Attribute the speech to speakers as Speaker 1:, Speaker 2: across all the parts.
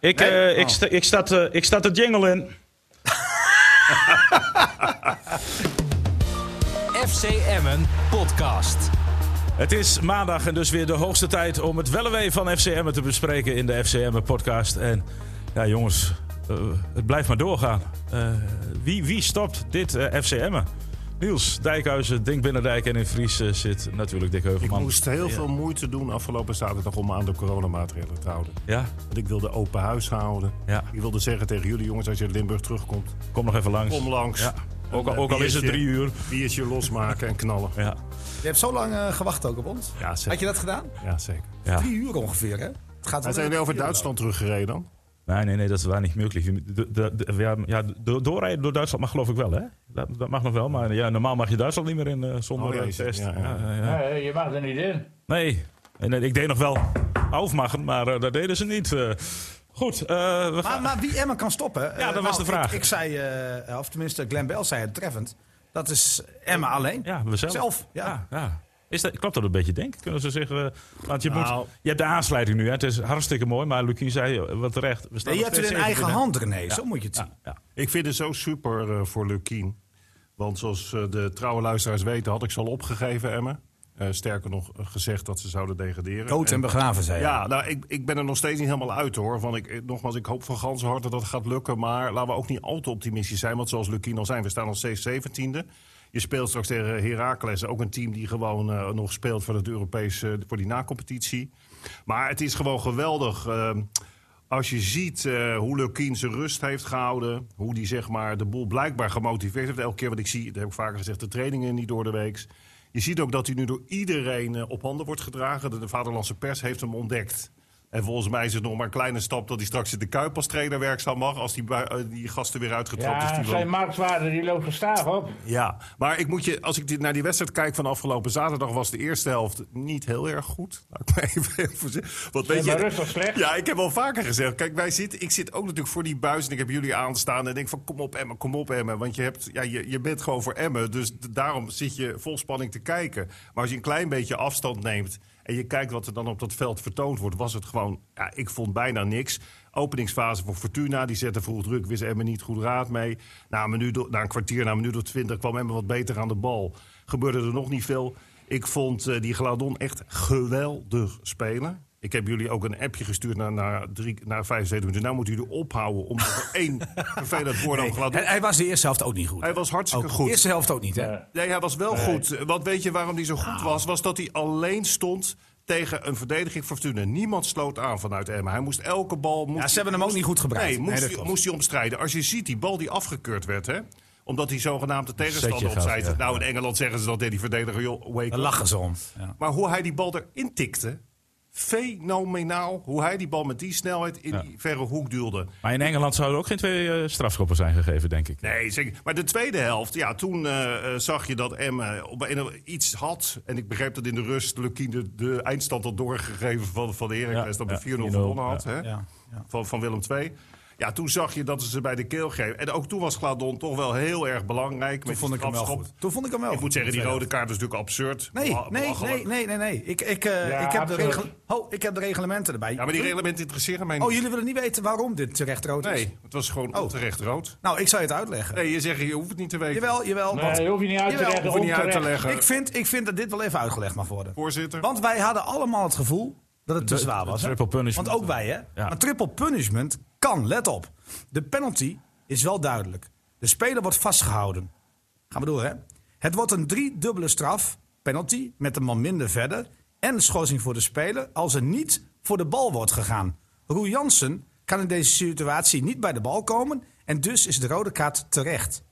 Speaker 1: Ik,
Speaker 2: Nee?
Speaker 1: eh, ik,
Speaker 2: Oh.
Speaker 1: sta, ik, sta te, ik sta te jingle in.
Speaker 3: FC Emmen podcast.
Speaker 1: Het is maandag en dus weer de hoogste tijd om het wel en wee van FCM te bespreken in de FCM podcast. En ja, jongens, eh, het blijft maar doorgaan. Eh, wie, wie stopt dit eh FCM? Niels Dijkhuizen, Dink Binnendijk en in Fries eh, zit natuurlijk Dick
Speaker 4: Ik
Speaker 1: Heuvelman.
Speaker 4: moest heel veel moeite doen afgelopen zaterdag om me aan de coronamaatregelen te houden.
Speaker 1: Ja,
Speaker 4: Want ik wilde open huis houden.
Speaker 1: Ja.
Speaker 4: Ik wilde zeggen tegen jullie jongens, als je uit Limburg terugkomt,
Speaker 1: kom nog even langs.
Speaker 4: kom langs.
Speaker 1: Ja.
Speaker 4: Een,
Speaker 1: Ook, al-
Speaker 4: eh,
Speaker 1: ook al is het
Speaker 4: biertje-
Speaker 1: drie uur.
Speaker 4: Biertje losmaken en knallen.
Speaker 1: Ja,
Speaker 2: Je hebt zo lang eh, gewacht ook op ons.
Speaker 4: Ja,
Speaker 2: Had je
Speaker 4: zeker.
Speaker 2: dat gedaan?
Speaker 4: Ja, zeker.
Speaker 1: ja.
Speaker 2: Drie uur ongeveer, hè? Het gaat wel
Speaker 4: En zijn
Speaker 2: weer-
Speaker 4: jullie over Duitsland teruggereden dan?
Speaker 1: Nee, nee, nee, dat waren niet mogelijk. De- de- de- ja, ja, do- doorrijden door Duitsland mag geloof ik wel, hè? Dat, dat mag nog wel, maar ja, normaal mag je Duitsland niet meer in eh, zonder
Speaker 4: Oh, ja,
Speaker 1: eh,
Speaker 4: je zit-
Speaker 1: test.
Speaker 4: ja, ja.
Speaker 1: Ja, ja, ja.
Speaker 5: Nee, je mag er niet in.
Speaker 1: Nee, en, eh, ik deed nog wel afmachen, maar eh, dat deden ze niet. Eh, goed, eh, we
Speaker 2: Maar,
Speaker 1: gaan...
Speaker 2: maar wie Emmen kan stoppen? Ja,
Speaker 1: dat was de vraag.
Speaker 2: Ik, ik zei, eh, of tenminste Glenn Bell zei het treffend. Dat is Emmen alleen.
Speaker 1: ja, we zelf.
Speaker 2: Zelf, ja.
Speaker 1: ja. ja. Is dat, klopt dat een beetje, denk ik? Kunnen ze zeggen... eh, want je,
Speaker 4: Nou.
Speaker 1: moet, je hebt de aansluiting nu, hè? het is hartstikke mooi, maar Lukien zei eh, wat terecht. We staan
Speaker 2: Nee, je
Speaker 1: nog
Speaker 2: hebt het in
Speaker 1: steeds
Speaker 2: eigen
Speaker 1: 17e.
Speaker 2: hand, René. Zo moet je het zien.
Speaker 1: Ja, ja.
Speaker 4: Ik vind het zo super eh, voor Lukien. Want zoals eh, de trouwe luisteraars weten, had ik ze al opgegeven, Emma. Eh, sterker nog eh, gezegd dat ze zouden degraderen.
Speaker 2: Dood en begraven, zei hij.
Speaker 4: Ja, nou, ik, ik ben er nog steeds niet helemaal uit hoor. Want ik, eh, nogmaals, ik hoop van ganse harte dat het gaat lukken. Maar laten we ook niet al te optimistisch zijn. Want zoals Lukien al zijn, we staan nog steeds 17e. Je speelt straks tegen Heracles. Ook een team die gewoon eh, nog speelt voor, het Europese, voor die nacompetitie. Maar het is gewoon geweldig. eh, als je ziet eh, hoe Lukien zijn rust heeft gehouden. Hoe die zeg maar, de boel blijkbaar gemotiveerd heeft. Elke keer wat ik zie, dat heb ik vaker gezegd, de trainingen niet door de weeks. Je ziet ook dat hij nu door iedereen eh, op handen wordt gedragen. De, de vaderlandse pers heeft hem ontdekt. En volgens mij is het nog maar een kleine stap dat hij straks in de Kuip als trainer werkzaam mag. Als die, bui- eh, die gasten weer uitgetrapt is.
Speaker 5: Ja,
Speaker 4: Die wel-
Speaker 5: zijn marktwaarde die loopt gestaag op.
Speaker 4: ja, maar ik moet je, als ik dit, naar die wedstrijd kijk van afgelopen zaterdag, was de eerste helft niet heel erg goed. Laat ik maar even heel voorzichtig- Want weet
Speaker 5: Ja, maar
Speaker 4: je,
Speaker 5: rustig slecht.
Speaker 4: Ja, ik heb al vaker gezegd. Kijk, wij zitten, ik zit ook natuurlijk voor die buis en ik heb jullie aanstaan en denk van kom op Emmen, kom op Emmen. Want je, hebt, ja, je, je bent gewoon voor Emmen, dus d- daarom zit je vol spanning te kijken. Maar als je een klein beetje afstand neemt en je kijkt wat er dan op dat veld vertoond wordt, was het gewoon, ja, ik vond bijna niks. Openingsfase voor Fortuna, die zette vroeg druk, wist Emmen niet goed raad mee. Na een, minuut, o- na een kwartier, na een minuut of twintig kwam Emmen wat beter aan de bal. Gebeurde er nog niet veel. Ik vond eh, die Gladon echt geweldig spelen. Ik heb jullie ook een appje gestuurd naar, naar, drie, naar vijf, zeven minuten. Nou moeten jullie ophouden om er één vervelend woord aan Gladon.
Speaker 2: Hij, hij was de eerste helft ook niet goed.
Speaker 4: Hij was hartstikke
Speaker 2: Ook.
Speaker 4: goed.
Speaker 2: De eerste helft ook niet, hè?
Speaker 4: Nee, hij was wel goed. Want weet je waarom hij zo goed
Speaker 2: Nou.
Speaker 4: was? Was dat hij alleen stond tegen een verdediging van Fortuna. Niemand sloot aan vanuit Emmen. Hij moest elke bal... Moest
Speaker 2: Ja, ze hebben hem ook niet goed gebruikt.
Speaker 4: Nee,
Speaker 2: Nee,
Speaker 4: moest,
Speaker 2: dat
Speaker 4: hij,
Speaker 2: klopt.
Speaker 4: moest hij omstrijden. Als je ziet, die bal die afgekeurd werd, hè? Omdat hij zogenaamd de tegenstander
Speaker 1: Setje
Speaker 4: opzij.
Speaker 1: gaf, ja.
Speaker 4: Nou, in Engeland zeggen ze dat deed die verdediger. Joh, wake
Speaker 2: Daar
Speaker 4: up.
Speaker 2: lachen ze om. Ja.
Speaker 4: Maar hoe hij die bal erin tikte, fenomenaal. Hoe hij die bal met die snelheid in die verre hoek duwde.
Speaker 1: Maar in Engeland zouden ook geen twee eh, strafschoppen zijn gegeven, denk ik.
Speaker 4: Nee, zeker. Maar de tweede helft, ja, toen eh, eh, zag je dat Emme op een of- iets had. En ik begreep dat in de rust Lukien de, de eindstand had doorgegeven van, van de Heracles.
Speaker 1: Ja,
Speaker 4: dat we
Speaker 1: ja, 4-0,
Speaker 4: 4-0 gewonnen had, hè?
Speaker 2: Ja. Ja.
Speaker 4: Van, van Willem II. Ja, toen zag je dat ze ze bij de keel geven. En ook toen was Gladon toch wel heel erg belangrijk.
Speaker 2: Toen vond ik hem wel goed. Oh, Toen vond ik hem wel
Speaker 4: Ik
Speaker 2: goed.
Speaker 4: moet zeggen, die rode kaart is natuurlijk absurd.
Speaker 2: Nee,
Speaker 4: Bela-
Speaker 2: nee,
Speaker 4: belachelijk.
Speaker 2: nee, nee, nee, nee. Ik, ik, eh,
Speaker 5: Ja,
Speaker 2: ik, heb, de
Speaker 5: absoluut.
Speaker 2: regel- oh, ik heb de reglementen erbij. Hm?
Speaker 4: Ja, maar die reglementen interesseren mij niet.
Speaker 2: Oh, jullie willen niet weten waarom dit terecht rood is?
Speaker 4: Nee, het was gewoon
Speaker 2: Oh.
Speaker 4: onterecht rood.
Speaker 2: Nou, ik zal je het uitleggen.
Speaker 4: Nee, je zegt, je hoeft het niet te weten.
Speaker 2: Jawel, jawel.
Speaker 5: Nee,
Speaker 2: want-
Speaker 5: hoef je niet uit te
Speaker 2: Jawel,
Speaker 5: leggen.
Speaker 4: hoef je niet uit te
Speaker 5: onterecht.
Speaker 4: leggen.
Speaker 2: ik, vind, ik vind dat dit wel even uitgelegd mag worden.
Speaker 4: Voorzitter.
Speaker 2: Want wij hadden allemaal het gevoel dat het te
Speaker 1: De-
Speaker 2: zwaar
Speaker 1: de
Speaker 2: was. hè?
Speaker 1: triple punishment.
Speaker 2: Want ook wij, hè?
Speaker 1: Ja.
Speaker 2: Maar triple punishment kan, let op. De penalty is wel duidelijk. De speler wordt vastgehouden. Gaan we door, hè? Het wordt een driedubbele straf, penalty, met een man minder verder. En schorsing voor de speler als er niet voor de bal wordt gegaan. Roel Jansen kan in deze situatie niet bij de bal komen. En dus is de rode kaart terecht.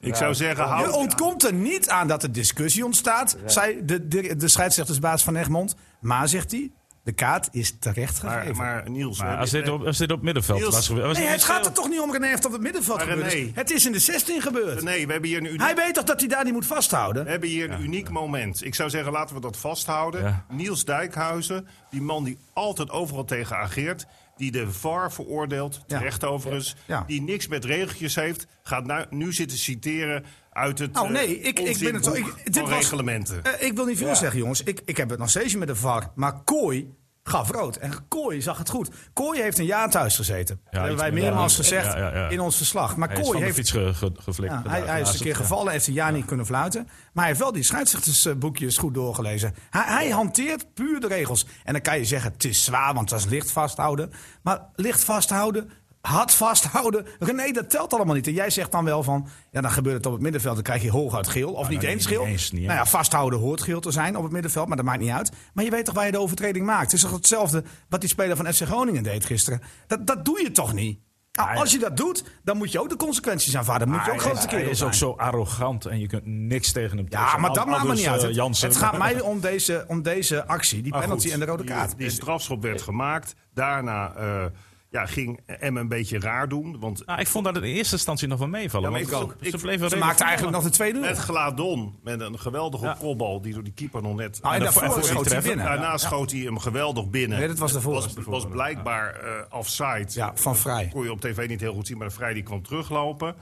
Speaker 4: Ik zou zeggen, hou
Speaker 2: Je ontkomt er niet aan dat er discussie ontstaat, zei de, de, de scheidsrechtersbaas van Egmond. Maar, zegt hij, de kaart is terecht
Speaker 4: Maar,
Speaker 2: gegeven.
Speaker 4: maar Niels,
Speaker 1: Maar
Speaker 4: hè,
Speaker 1: als dit op, als dit op middenveld
Speaker 4: Niels-
Speaker 1: was gebeurd... was
Speaker 2: Eh, nee,
Speaker 1: dit
Speaker 2: het
Speaker 1: niet
Speaker 2: gaat er
Speaker 1: veel-
Speaker 2: toch niet om René of dat op het middenveld
Speaker 4: Maar
Speaker 2: gebeurd is.
Speaker 4: René-
Speaker 2: Het is in de 16 gebeurd.
Speaker 4: nee, we hebben hier een, uni-
Speaker 2: Hij weet toch dat hij daar niet moet
Speaker 4: we
Speaker 2: vasthouden?
Speaker 4: hebben hier een uniek moment. Ik zou zeggen, laten we dat vasthouden.
Speaker 1: Ja.
Speaker 4: Niels Dijkhuizen, die man die altijd overal tegen ageert... die de VAR veroordeelt, terecht overigens...
Speaker 2: Ja.
Speaker 4: die niks met regeltjes heeft... gaat nu, nu zitten citeren uit het
Speaker 2: Nou,
Speaker 4: eh,
Speaker 2: nee, ik- ik ben het zo- ik-
Speaker 4: onzinboek
Speaker 2: dit
Speaker 4: van
Speaker 2: was-
Speaker 4: reglementen.
Speaker 2: Eh, ik wil niet veel zeggen, jongens. Ik, ik heb het nog steeds met de VAR. Maar Kooi gaf rood. En Kooi zag het goed. Kooi heeft een jaar thuis gezeten. dat hebben
Speaker 1: iets
Speaker 2: wij
Speaker 1: meer
Speaker 2: meermaals
Speaker 1: dan-
Speaker 2: gezegd
Speaker 1: ja, ja, ja.
Speaker 2: in ons verslag. Maar
Speaker 1: Hij is van
Speaker 2: Kooi
Speaker 1: de
Speaker 2: heeft
Speaker 1: fiets ge, ge- geflikt.
Speaker 2: ja, hij,
Speaker 1: inderdaad.
Speaker 2: hij is
Speaker 1: Naast
Speaker 2: een
Speaker 1: het-
Speaker 2: keer gevallen, heeft een jaar niet kunnen fluiten. Maar hij heeft wel die scheidsrechtersboekjes goed doorgelezen. Hij, hij hanteert puur de regels. En dan kan je zeggen, het is zwaar, want dat is licht vasthouden. Maar licht vasthouden, hard vasthouden, René, dat telt allemaal niet. En jij zegt dan wel van, ja, dan gebeurt het op het middenveld. Dan krijg je hooguit geel, of niet
Speaker 1: nou,
Speaker 2: eens
Speaker 1: niet
Speaker 2: geel.
Speaker 1: eens, niet
Speaker 2: nou ja,
Speaker 1: eens.
Speaker 2: vasthouden hoort geel te zijn op het middenveld, maar dat maakt niet uit. Maar je weet toch waar je de overtreding maakt. Het is toch hetzelfde wat die speler van FC Groningen deed gisteren. Dat, dat doe je toch niet? Nou,
Speaker 1: Ah, ja.
Speaker 2: als je dat doet, dan moet je ook de consequenties aanvaarden. Dan moet je ook
Speaker 1: Hij
Speaker 2: grote
Speaker 1: is, hij
Speaker 2: kerel
Speaker 1: is
Speaker 2: zijn.
Speaker 1: ook zo arrogant en je kunt niks tegen hem
Speaker 2: Ja, maar dat maakt me niet uit. Het-
Speaker 1: Jansen.
Speaker 2: Het gaat mij om deze, om deze actie, die
Speaker 4: Maar
Speaker 2: penalty
Speaker 4: eh, Ah, goed,
Speaker 2: en de rode
Speaker 4: die-
Speaker 2: kaart.
Speaker 4: Die, strafschop werd gemaakt. Daarna eh, ja, ging M een beetje raar doen. Want
Speaker 1: Nou, ik vond dat in eerste instantie nog wel meevallen.
Speaker 4: Ja, maar
Speaker 1: want
Speaker 4: ik
Speaker 1: ze-
Speaker 4: ook.
Speaker 1: Ze,
Speaker 4: Ik-
Speaker 1: bleven
Speaker 2: Ze
Speaker 1: redelijk
Speaker 2: maakte eigenlijk nog
Speaker 1: voetballen.
Speaker 2: de tweede uur.
Speaker 4: met Gladon, met een geweldige kopbal die door die keeper nog net...
Speaker 2: Ah, en
Speaker 1: en
Speaker 2: daarvoor
Speaker 1: daarvoor
Speaker 2: schoot hij
Speaker 1: treffer.
Speaker 2: binnen.
Speaker 4: Daarna schoot hij hem geweldig binnen.
Speaker 2: Nee, dat was daarvoor.
Speaker 4: Het was, was blijkbaar eh offside.
Speaker 2: Ja, van Vrij.
Speaker 4: kon je op tv niet heel goed zien, maar de Vrij die kwam teruglopen.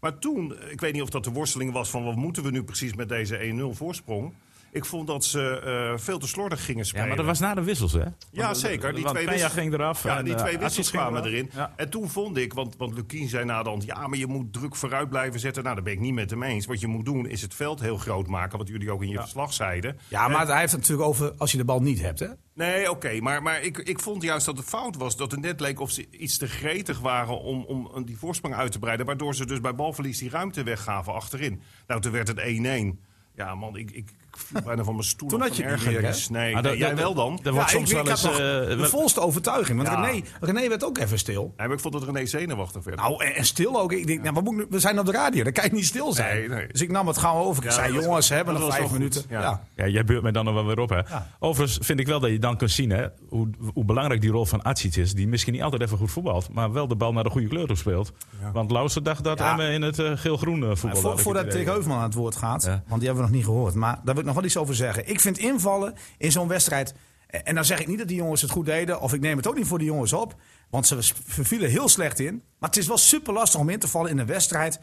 Speaker 4: Maar toen, ik weet niet of dat de worsteling was van wat moeten we nu precies met deze 1-0 voorsprong. Ik vond dat ze eh, veel te slordig gingen spelen.
Speaker 1: Ja, maar dat was na de wissels, hè?
Speaker 4: Ja, zeker. Die
Speaker 1: want
Speaker 4: twee
Speaker 1: Peña
Speaker 4: wissels
Speaker 1: ging eraf
Speaker 4: Ja,
Speaker 1: en,
Speaker 4: die
Speaker 1: eh,
Speaker 4: twee
Speaker 1: Assis
Speaker 4: wissels
Speaker 1: ging
Speaker 4: kwamen
Speaker 1: eraf.
Speaker 4: erin.
Speaker 1: Ja.
Speaker 4: En toen vond ik, want, want Lukien zei na de hand... ja, maar je moet druk vooruit blijven zetten. Nou, daar ben ik niet met hem eens. Wat je moet doen is het veld heel groot maken... wat jullie ook in je verslag zeiden.
Speaker 2: Ja, maar hij heeft het natuurlijk over als je de bal niet hebt. Hè?
Speaker 4: Nee, oké, maar, maar ik, ik vond juist dat het fout was. Dat het net leek of ze iets te gretig waren om, om om die voorsprong uit te breiden. Waardoor ze dus bij balverlies die ruimte weggaven achterin. Nou, toen werd het 1-1. Ja, man, ik, ik, ik viel bijna van mijn stoel.
Speaker 2: Toen
Speaker 4: af
Speaker 2: had je
Speaker 4: van
Speaker 2: het niet meer,
Speaker 4: ergernis. Nee,
Speaker 1: Maar
Speaker 4: nee,
Speaker 1: Ah, dat-
Speaker 4: jij
Speaker 1: dat-
Speaker 4: wel dan?
Speaker 1: dat wordt
Speaker 2: Ja,
Speaker 1: soms
Speaker 2: ik,
Speaker 1: wel
Speaker 2: ik had
Speaker 1: eens...
Speaker 2: nog
Speaker 1: eh,
Speaker 2: de
Speaker 1: wel-
Speaker 2: volste overtuiging. Want
Speaker 4: Ja.
Speaker 2: René, René werd ook even stil.
Speaker 4: Nee, maar ik vond dat René zenuwachtig werd.
Speaker 2: Nou, en, en stil ook. Ik denk, nou, wat moet ik nu- we zijn op de radio, dan kan je niet stil zijn.
Speaker 4: Nee, nee.
Speaker 2: Dus ik nam het gauw over. Ik
Speaker 4: Ja,
Speaker 2: zei,
Speaker 4: dat was-
Speaker 2: jongens, we hebben
Speaker 4: dat
Speaker 2: nog
Speaker 4: was
Speaker 2: vijf
Speaker 4: wel goed.
Speaker 2: minuten.
Speaker 4: Ja.
Speaker 2: Ja.
Speaker 1: Ja, jij beurt mij dan nog wel weer op, hè? Overigens vind ik wel dat je dan kunt zien hè, hoe, hoe belangrijk die rol van Atsic is. Die misschien niet altijd even goed voetbalt, maar wel de bal naar de goede kleur toe speelt. Want Lauwse dacht dat
Speaker 2: Ja.
Speaker 1: Emmen in het eh, geel-groen eh, voetbal
Speaker 2: Voor,
Speaker 1: had ik
Speaker 2: voordat
Speaker 1: het idee.
Speaker 2: Dick Heuvelman aan het woord gaat,
Speaker 1: Ja.
Speaker 2: want die hebben we nog niet gehoord. Maar daar wil ik nog wel iets over zeggen. Ik vind invallen in zo'n wedstrijd... En en dan zeg ik niet dat die jongens het goed deden, of ik neem het ook niet voor de jongens op. Want ze vervielen heel slecht in. Maar het is wel super lastig om in te vallen in een wedstrijd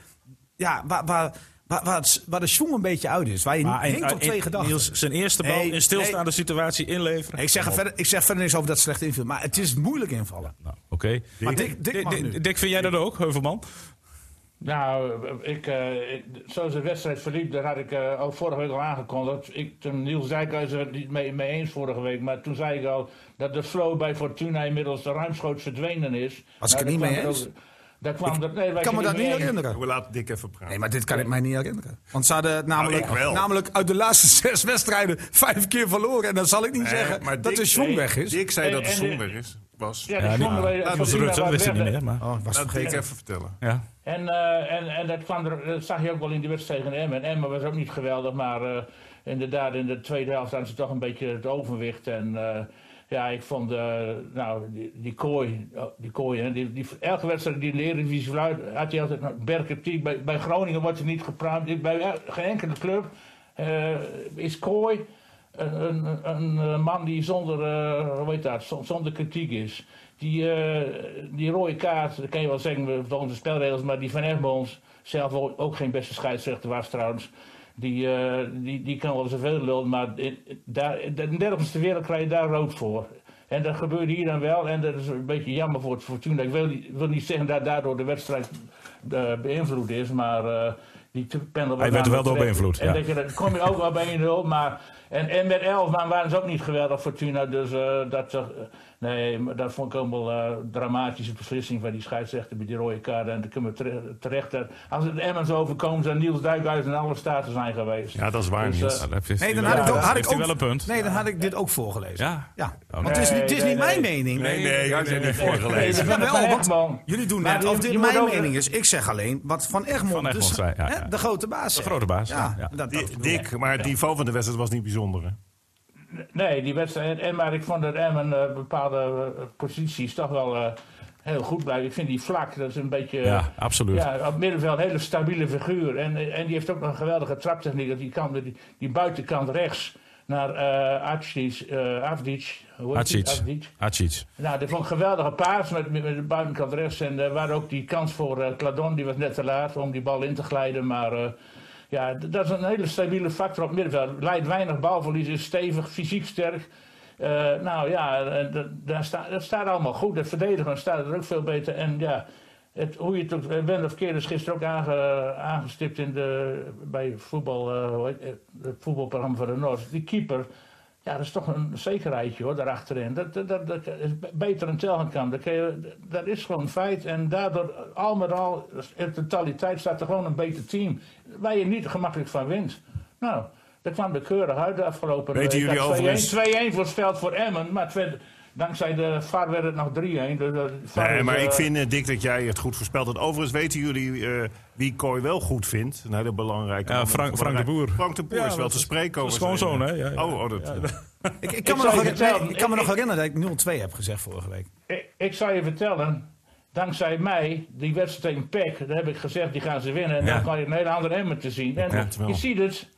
Speaker 2: ja, waar, waar, waar, waar, het- waar de schoen een beetje uit is. Waar je
Speaker 1: Maar
Speaker 2: niet
Speaker 1: in-
Speaker 2: hinkt op
Speaker 1: in-
Speaker 2: twee gedachten.
Speaker 1: Niels, zijn eerste bal
Speaker 2: Nee,
Speaker 1: in stilstaande situatie inleveren.
Speaker 2: ik, zeg er verder, ik zeg verder niks over dat het slecht inviel. Maar het is moeilijk invallen.
Speaker 1: Nou, oké.
Speaker 2: Maar Dick- Dick mag nu.
Speaker 1: Dick, vind jij dat ook, Heuvelman?
Speaker 5: Nou, ik, eh, ik- zoals de wedstrijd verliep, daar had ik eh, al vorige week al aangekondigd. Ik, toen Niels Dijkhuizen het niet mee, mee eens vorige week, maar toen zei ik al dat de flow bij Fortuna inmiddels ruimschoots verdwenen is.
Speaker 2: Was ik
Speaker 5: Nou,
Speaker 2: het
Speaker 5: daar
Speaker 2: niet mee
Speaker 5: kwam
Speaker 2: eens?
Speaker 5: er ook- Daar kwam dat, nee, wij
Speaker 2: Ik kan me dat
Speaker 5: zijn het
Speaker 2: niet
Speaker 5: eens.
Speaker 2: herinneren.
Speaker 4: We laten Dick even praten.
Speaker 2: Nee, maar dit kan ik mij niet herinneren. Want ze hadden
Speaker 5: Nou,
Speaker 2: namelijk,
Speaker 4: ik wel.
Speaker 2: namelijk uit de laatste zes wedstrijden vijf keer verloren. En dan zal ik niet
Speaker 4: Nee,
Speaker 2: zeggen
Speaker 4: Eh, maar
Speaker 2: dat
Speaker 4: Dick-
Speaker 2: de Jong
Speaker 5: nee,
Speaker 2: weg is.
Speaker 4: Dick zei
Speaker 5: En-
Speaker 4: dat de
Speaker 5: en
Speaker 4: zon
Speaker 5: de-
Speaker 4: weg is. Was.
Speaker 5: Ja,
Speaker 4: Ja,
Speaker 5: die
Speaker 1: Ja, nou, die-
Speaker 5: zongen wij-
Speaker 1: dat was
Speaker 5: Fortuna
Speaker 1: Rutte, dat
Speaker 5: waren
Speaker 1: wist hij niet
Speaker 5: weg.
Speaker 1: meer. Maar,
Speaker 2: Oh, was
Speaker 4: Laat Dick
Speaker 2: vergeten.
Speaker 4: even vertellen.
Speaker 1: ja.
Speaker 5: En, eh, en, en dat, kwam er, dat zag je ook wel in die wedstrijd tegen Emmen. Emmen was ook niet geweldig, maar eh, inderdaad, in de tweede helft hadden ze toch een beetje het overwicht. En eh, ja, ik vond, eh, nou, die, die kooi, oh, die kooi hè, die, die, elke wedstrijd die leren, die fluit, had hij altijd, nou, Berkertie, bij, bij Groningen wordt er niet gepruimd. Ik- Bij el- geen enkele club eh, is kooi een, een, een, een man die zonder, eh, hoe heet dat, zon- zonder kritiek is. Die, eh, die rode kaart, dat kan je wel zeggen volgens de spelregels, maar die Van Egmonds, zelf ook, ook geen beste scheidsrechter was trouwens. Die, eh, die, die kan wel zoveel lullen, maar in- daar, in- nergens ter wereld krijg je daar rood voor. En dat gebeurde hier dan wel en dat is een beetje jammer voor het Fortuna. Ik wil, niet- wil niet zeggen dat daardoor de wedstrijd eh, beïnvloed is, maar eh, die t- pendel
Speaker 1: Hij werd er wel door
Speaker 5: terecht.
Speaker 1: beïnvloed,
Speaker 5: En
Speaker 1: ja.
Speaker 5: dat je, dan kom je ook wel bij 1-0, maar... En, en met 11 man waren ze ook niet geweldig, Fortuna. Dus eh, dat, eh, nee, maar dat vond ik allemaal eh dramatische beslissing van die scheidsrechter bij die rode kaart. En dan kunnen we tere- terecht... dat als het Emmen zo overkomen, zijn Niels Dijkhuis en alle staten zijn geweest.
Speaker 4: Ja, dat is waar,
Speaker 5: Dus,
Speaker 4: Niels.
Speaker 5: eh,
Speaker 1: Nou, dat heeft
Speaker 2: Nee,
Speaker 1: hij
Speaker 2: dan
Speaker 1: wel-
Speaker 2: had ik, ook,
Speaker 1: dat
Speaker 2: had
Speaker 1: heeft
Speaker 2: ik
Speaker 1: hij
Speaker 2: ook
Speaker 1: wel een punt.
Speaker 2: Nee, dan had ik dit ook voorgelezen.
Speaker 1: Ja.
Speaker 2: Ja,
Speaker 1: nee.
Speaker 2: want het is niet, het is niet
Speaker 5: Nee,
Speaker 2: mijn
Speaker 5: nee, nee.
Speaker 2: mening.
Speaker 4: Nee, nee, jij bent niet voorgelezen.
Speaker 2: Ja, wel,
Speaker 5: Van
Speaker 2: want
Speaker 5: Egmond.
Speaker 2: jullie doen
Speaker 5: Maar
Speaker 2: net
Speaker 5: je-
Speaker 2: of dit
Speaker 5: je moet
Speaker 2: mijn
Speaker 5: ook-
Speaker 2: mening is. Ik zeg alleen wat Van Egmond,
Speaker 1: Van Egmond
Speaker 2: dus,
Speaker 1: zei, ja,
Speaker 2: hè,
Speaker 1: ja.
Speaker 2: de grote baas. zegt.
Speaker 1: grote baas,
Speaker 2: Ja,
Speaker 1: ja, ja.
Speaker 2: dat- dat-
Speaker 4: Di- Dick, maar het niveau van de wedstrijd was niet bijzonder. hè?
Speaker 5: Nee, die wedstrijd. En, maar ik vond dat Emmen eh, bepaalde eh, posities toch wel eh, heel goed blijven. Ik vind die vlak, dat is een beetje. eh,
Speaker 1: Ja, absoluut.
Speaker 5: Ja, op het middenveld een hele stabiele figuur. En, eh, en die heeft ook een geweldige traptechniek. Dat Die, kan, die, die buitenkant rechts naar eh Atsic. eh, Avdic. Hoe heet die?
Speaker 1: Atsic.
Speaker 5: Avdic.
Speaker 1: Atsic.
Speaker 5: Nou, dat vond ik een geweldige paas met, met, met de buitenkant rechts. En eh, waar ook die kans voor eh Cladon, die was net te laat om die bal in te glijden. Maar eh, ja, d- dat is een hele stabiele factor op het middenveld. Leidt weinig balverlies, is stevig, fysiek sterk. Eh, nou ja, eh, dat, daar sta- dat staat allemaal goed. Het verdedigen staat er ook veel beter. En ja, het, hoe je het ook eh, bent of keer is gisteren ook aange- aangestipt in de, bij voetbal, eh, hoe heet het, het voetbalprogramma van de Noord. Die keeper, ja, dat is toch een zekerheidje hoor, daarachterin. Dat, dat, dat, dat is b- beter een Telgenkamp. Dat, kun je- dat is gewoon een feit. En daardoor, al met al, in totaliteit staat er gewoon een beter team. Waar je niet gemakkelijk van wint. Nou, dat kwam er keurig uit de afgelopen
Speaker 4: Weten
Speaker 5: week.
Speaker 4: jullie
Speaker 5: Ja,
Speaker 4: overigens-
Speaker 5: 2-1 2-1 voor het veld voor Emmen. Maar het werd- dankzij de VAR werd het nog 3-1. Dus, eh, VAR
Speaker 4: Nee,
Speaker 5: is,
Speaker 4: maar
Speaker 5: eh,
Speaker 4: ik vind, eh, Dick, dat jij het goed voorspelt. En overigens weten jullie eh, wie Kooi wel goed vindt. Een hele belangrijke...
Speaker 1: Ja,
Speaker 4: man.
Speaker 1: Frank- Frank de Boer.
Speaker 4: Frank de Boer
Speaker 1: Ja,
Speaker 4: is wel
Speaker 1: dat
Speaker 4: te
Speaker 1: is-
Speaker 4: spreken
Speaker 1: dat
Speaker 4: over
Speaker 1: is gewoon
Speaker 4: zijn-
Speaker 1: zo, hè? Ja, ja.
Speaker 4: Oh, oh, dat...
Speaker 2: Ik, ik kan, me
Speaker 5: zou
Speaker 2: nog,
Speaker 5: je
Speaker 2: herinneren-
Speaker 5: vertellen,
Speaker 2: nee, ik kan me
Speaker 5: ik-
Speaker 2: nog herinneren dat ik 0-2 heb gezegd vorige week.
Speaker 5: ik, ik zal je vertellen. Dankzij mij, die wedstrijd tegen PEC, daar heb ik gezegd, die gaan ze winnen. En
Speaker 1: Ja.
Speaker 5: dan kan je een hele andere Emmen te zien. En
Speaker 4: klopt wel.
Speaker 5: je ziet het.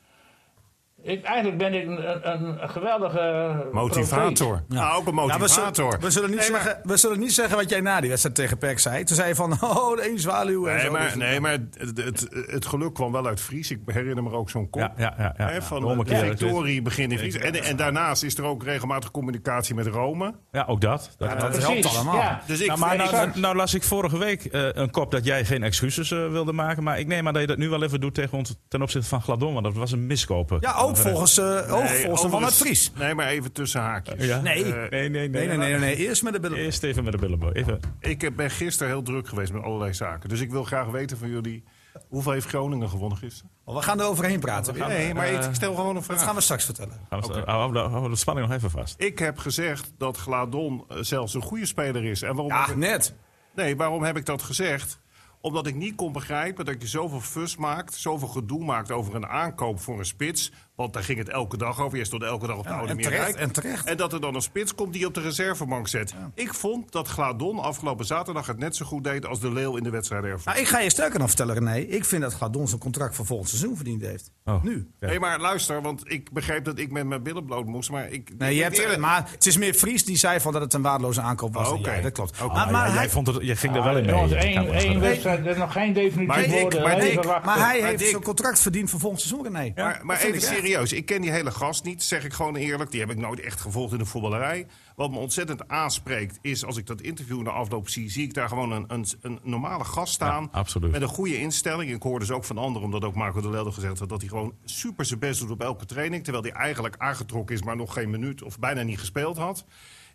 Speaker 5: Ik, eigenlijk ben ik een, een, een geweldige profeet.
Speaker 4: Motivator. Ah, ook een
Speaker 2: Ja, Nou, we,
Speaker 4: motivator.
Speaker 2: zullen, we, zullen niet zeggen, we zullen niet zeggen wat jij na die wedstrijd tegen PEC zei. Toen zei je van, oh, de een zwaluw en
Speaker 4: Nee,
Speaker 2: zo.
Speaker 4: maar,
Speaker 2: Dus-
Speaker 4: nee, maar het, het, het geluk kwam wel uit Fries. Ik herinner me ook zo'n kop.
Speaker 1: Ja, ja, ja, ja.
Speaker 4: Hè, van
Speaker 1: De
Speaker 4: de,
Speaker 1: ommekeer.
Speaker 4: victorie begint in Fries. En, en daarnaast is er ook regelmatig communicatie met Rome.
Speaker 1: Ja, ook dat. dat
Speaker 2: dat
Speaker 5: Precies,
Speaker 2: helpt allemaal.
Speaker 5: ja.
Speaker 4: Dus ik
Speaker 1: nou, maar nou,
Speaker 5: exact.
Speaker 1: nou, nou las ik vorige week eh, een kop dat jij geen excuses eh, wilde maken. Maar ik neem aan dat je dat nu wel even doet tegen ons ten opzichte van Gladon. Want dat was een miskopen.
Speaker 2: Ja, ook volgens, eh ook
Speaker 4: Nee,
Speaker 2: volgens de man uit
Speaker 4: overigens-
Speaker 2: Fries.
Speaker 4: Nee, maar even tussen haakjes.
Speaker 1: Ja.
Speaker 2: Nee.
Speaker 1: Eh, nee, nee,
Speaker 2: Nee, nee, nee, nee, nee. Eerst met de billen.
Speaker 1: Eerst even met de billenboy. Even.
Speaker 4: Ik ben gisteren heel druk geweest met allerlei zaken. Dus ik wil graag weten van jullie... Hoeveel heeft Groningen gewonnen gisteren?
Speaker 2: Maar Oh, We gaan er overheen praten. Nee,
Speaker 4: Nee, maar ik stel gewoon een vraag.
Speaker 2: dat gaan we straks vertellen.
Speaker 1: Gaan we- Hou hou- hou de spanning nog even vast.
Speaker 4: Ik heb gezegd dat Gladon eh, zelfs een goede speler is. En waarom heb
Speaker 2: Ja,
Speaker 4: ik-
Speaker 2: net.
Speaker 4: Nee, waarom heb ik dat gezegd? Omdat ik niet kon begrijpen dat je zoveel fus maakt, zoveel gedoe maakt over een aankoop voor een spits. Want daar ging het elke dag over. Je stond elke dag op Oh, de
Speaker 2: Ja,
Speaker 4: Oude
Speaker 2: en
Speaker 4: Meerwijk.
Speaker 2: terecht, en terecht.
Speaker 4: En dat er dan een spits komt die je op de reservebank zet. Ik vond dat Gladon afgelopen zaterdag het net zo goed deed als de Leeuw in de wedstrijd ervoor.
Speaker 2: Nou, ik ga je sterker nog vertellen, René. Ik vind dat Gladon zijn contract voor volgend seizoen verdiend heeft.
Speaker 1: Oh.
Speaker 2: Nu.
Speaker 1: Ja.
Speaker 4: Nee, maar luister, want ik begreep dat ik met mijn billen bloot moest. Maar ik.
Speaker 2: Nee, je
Speaker 4: ik-
Speaker 2: hebt,
Speaker 4: eerlijk-
Speaker 2: maar het is meer Fries die zei van dat het een waardeloze aankoop was.
Speaker 4: Oh,
Speaker 2: dan
Speaker 4: oké.
Speaker 2: jij. dat klopt.
Speaker 4: Oké.
Speaker 2: Maar,
Speaker 1: Ah,
Speaker 2: maar
Speaker 1: ja, jij,
Speaker 2: hij,
Speaker 1: vond het, jij ging Ah, er wel in mee.
Speaker 5: Jongens,
Speaker 1: Je kan
Speaker 5: één,
Speaker 1: wel eens
Speaker 5: één
Speaker 1: dat-
Speaker 5: wedstrijd, er is nog geen
Speaker 4: Maar
Speaker 5: definitief
Speaker 4: Dick,
Speaker 5: woorden.
Speaker 4: maar
Speaker 5: Even
Speaker 4: Dick,
Speaker 5: wachten.
Speaker 2: maar hij
Speaker 4: Maar
Speaker 2: heeft
Speaker 4: Dick-
Speaker 2: zijn contract verdiend voor volgend seizoen, René.
Speaker 4: maar maar
Speaker 2: Dat vind
Speaker 4: even
Speaker 2: ik echt.
Speaker 4: serieus, ik ken die hele gast niet, zeg ik gewoon eerlijk. Die heb ik nooit echt gevolgd in de voetballerij. Wat me ontzettend aanspreekt is, als ik dat interview na afloop zie... zie ik daar gewoon een, een, een normale gast staan.
Speaker 1: absoluut.
Speaker 4: Met een goede instelling. Ik hoor dus ook van anderen, omdat ook Marco de Lelde gezegd had... dat hij gewoon super zijn best doet op elke training. Terwijl hij eigenlijk aangetrokken is, maar nog geen minuut of bijna niet gespeeld had.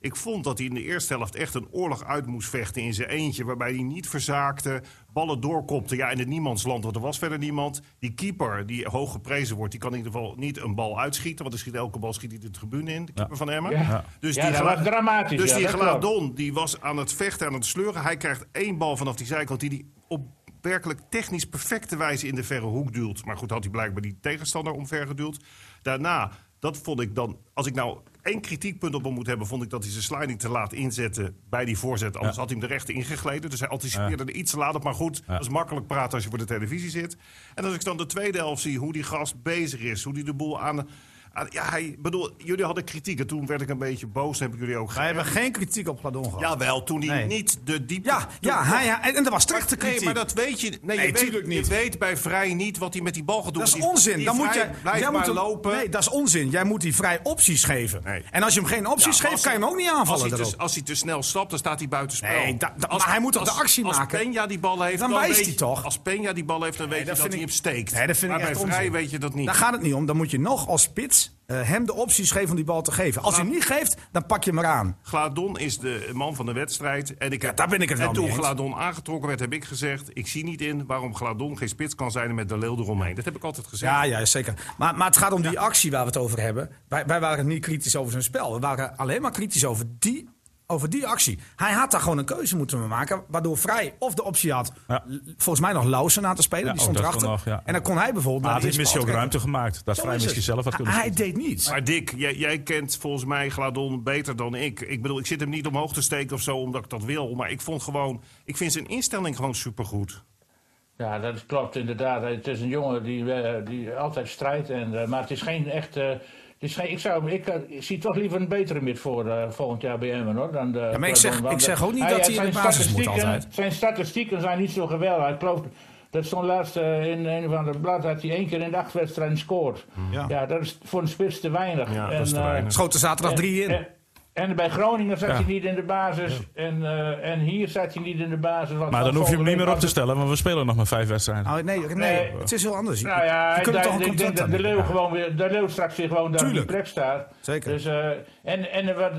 Speaker 4: Ik vond dat hij in de eerste helft echt een oorlog uit moest vechten in zijn eentje. Waarbij hij niet verzaakte, ballen doorkopte. Ja, in het niemandsland, want er was verder niemand. Die keeper, die hoog geprezen wordt, die kan in ieder geval niet een bal uitschieten. Want hij schiet elke bal schiet hij de tribune in, de keeper van Emmen.
Speaker 5: Ja.
Speaker 4: Dus
Speaker 5: Ja,
Speaker 4: die
Speaker 5: dat
Speaker 4: gla-
Speaker 5: was dramatisch,
Speaker 4: Dus
Speaker 5: ja,
Speaker 4: die
Speaker 5: dat klopt.
Speaker 4: Gladon, die was aan het vechten, aan het sleuren. Hij krijgt één bal vanaf die zijkant die hij op werkelijk technisch perfecte wijze in de verre hoek duwt. Maar goed, had hij blijkbaar die tegenstander omvergeduwd. Daarna, dat vond ik dan... Als ik nou één kritiekpunt op hem moet hebben... vond ik dat hij zijn sliding te laat inzette bij die voorzet. Anders had hij hem de rechter ingegleden. Dus hij anticipeerde er iets te laat op. Maar goed, dat is makkelijk praten als je voor de televisie zit. En als ik dan de tweede helft zie, hoe die gast bezig is... hoe die de boel aan... aan- Ja, hij, bedoel, jullie hadden kritiek en toen werd ik een beetje boos. Dan heb ik jullie ook
Speaker 2: Wij hebben geen kritiek op Gladon gehad.
Speaker 4: Jawel, toen hij
Speaker 2: Nee.
Speaker 4: niet de diepte...
Speaker 2: Ja, ja, hij, hij- en dat was terechte kritiek.
Speaker 4: Nee, maar dat weet je. Nee, je,
Speaker 2: Nee,
Speaker 4: weet,
Speaker 2: tuurlijk
Speaker 4: je
Speaker 2: niet.
Speaker 4: weet bij Vrij niet wat hij met die bal gaat doen.
Speaker 2: Dat is
Speaker 4: Want die-
Speaker 2: onzin.
Speaker 4: die
Speaker 2: Dan moet
Speaker 4: Vrij
Speaker 2: jij,
Speaker 4: blijft
Speaker 2: jij moet
Speaker 4: maar
Speaker 2: hem-
Speaker 4: lopen.
Speaker 2: Nee, dat is onzin. Jij moet die vrij opties geven.
Speaker 4: Nee.
Speaker 2: En als je hem geen opties
Speaker 4: Ja,
Speaker 2: geeft,
Speaker 4: als
Speaker 2: kan je hem ook niet
Speaker 4: als,
Speaker 2: aanvallen.
Speaker 4: hij te,
Speaker 2: erop.
Speaker 4: als hij te snel stapt, dan staat hij buitenspel.
Speaker 2: Nee, da- da-
Speaker 4: als,
Speaker 2: maar hij moet toch
Speaker 4: als-
Speaker 2: de actie maken?
Speaker 4: Als Peña die bal heeft,
Speaker 2: Dan wijst
Speaker 4: weet
Speaker 2: hij
Speaker 4: je-
Speaker 2: toch?
Speaker 4: Als Peña die bal heeft, dan weet
Speaker 2: dat
Speaker 4: je dat
Speaker 2: vind
Speaker 4: hij
Speaker 2: ik-
Speaker 4: hem steekt.
Speaker 2: Nee, dat vind
Speaker 4: maar
Speaker 2: ik
Speaker 4: bij
Speaker 2: echt
Speaker 4: Vrij
Speaker 2: onzin.
Speaker 4: weet je dat niet.
Speaker 2: Daar gaat het niet om. Dan moet je nog als spits eh, hem de opties geven om die bal te geven. Als hij hem niet geeft, dan pak je hem eraan.
Speaker 4: Gladon is de man van de wedstrijd. En ik heb,
Speaker 2: daar ben ik het
Speaker 4: En
Speaker 2: wel
Speaker 4: toen
Speaker 2: mee eens.
Speaker 4: Gladon aangetrokken werd, heb ik gezegd... ik zie niet in waarom Gladon geen spits kan zijn en met de leeuw eromheen. Dat heb ik altijd gezegd.
Speaker 2: Ja, ja, zeker. Maar, maar het gaat om die actie waar we het over hebben. Wij, wij waren niet kritisch over zijn spel. We waren alleen maar kritisch over die, over die actie. Hij had daar gewoon een keuze moeten maken. Waardoor Vrij of de optie had,
Speaker 1: Ja.
Speaker 2: l- volgens mij nog Lausen aan te spelen.
Speaker 1: Ja,
Speaker 2: die
Speaker 1: ook
Speaker 2: stond
Speaker 1: dat
Speaker 2: erachter.
Speaker 1: kon nog, ja.
Speaker 2: En dan kon hij bijvoorbeeld...
Speaker 1: Maar
Speaker 2: naar
Speaker 1: het is
Speaker 2: de eerste
Speaker 1: misschien ook
Speaker 2: bal trekken.
Speaker 1: ruimte gemaakt. Dat
Speaker 2: Ah, Zo
Speaker 1: Vrij
Speaker 2: is
Speaker 1: misschien
Speaker 2: het. Ah,
Speaker 1: zelf had kunnen
Speaker 2: Hij
Speaker 1: schieten.
Speaker 2: deed niets.
Speaker 4: Maar Dick, jij, jij kent volgens mij Gladon beter dan ik. Ik bedoel, ik zit hem niet omhoog te steken of zo omdat ik dat wil. Maar ik vond gewoon, ik vind zijn instelling gewoon supergoed.
Speaker 5: Ja, dat klopt inderdaad. Het is een jongen die, eh, die altijd strijdt. En, eh, maar het is geen echt. eh, het is geen, ik, zou, ik, eh, ik zie toch liever een betere mid voor eh, volgend jaar bij Emmen hoor. Dan de,
Speaker 2: Ja, maar ik zeg-
Speaker 5: want
Speaker 2: ik zeg ook niet dat hij in de
Speaker 5: zijn
Speaker 2: basis moet
Speaker 5: statistieken-
Speaker 2: altijd.
Speaker 5: Zijn statistieken zijn niet zo geweldig. Ik geloof dat zo'n laatste in een of ander blad had hij één keer in de
Speaker 1: Hmm.
Speaker 5: acht wedstrijden scoort. Ja. dat is voor een spits te weinig.
Speaker 4: Ja,
Speaker 5: En,
Speaker 4: dat is te
Speaker 5: eh,
Speaker 4: weinig.
Speaker 2: Schoten zaterdag drie in.
Speaker 5: en- En bij Groningen zat
Speaker 1: Ja.
Speaker 5: hij niet in de basis. En, eh, en hier zat hij niet in de basis. want
Speaker 1: Maar
Speaker 5: van
Speaker 1: dan hoef je hem
Speaker 5: volgende
Speaker 1: niet meer op
Speaker 5: week
Speaker 1: te
Speaker 5: was
Speaker 1: stellen, want we spelen nog maar vijf wedstrijden.
Speaker 2: Oh, nee, nee,
Speaker 5: Nee.
Speaker 2: het is heel anders. Je,
Speaker 5: Nou ja,
Speaker 2: je kunt
Speaker 5: daar-
Speaker 2: er toch een
Speaker 5: ik denk
Speaker 2: contract
Speaker 5: dat
Speaker 2: aan
Speaker 5: de
Speaker 2: hebben.
Speaker 5: leeuw gewoon weer, de leeuw straks weer gewoon daar op die
Speaker 2: Tuurlijk.
Speaker 5: plek staat.
Speaker 2: Zeker.
Speaker 5: Dus, eh, en, en wat,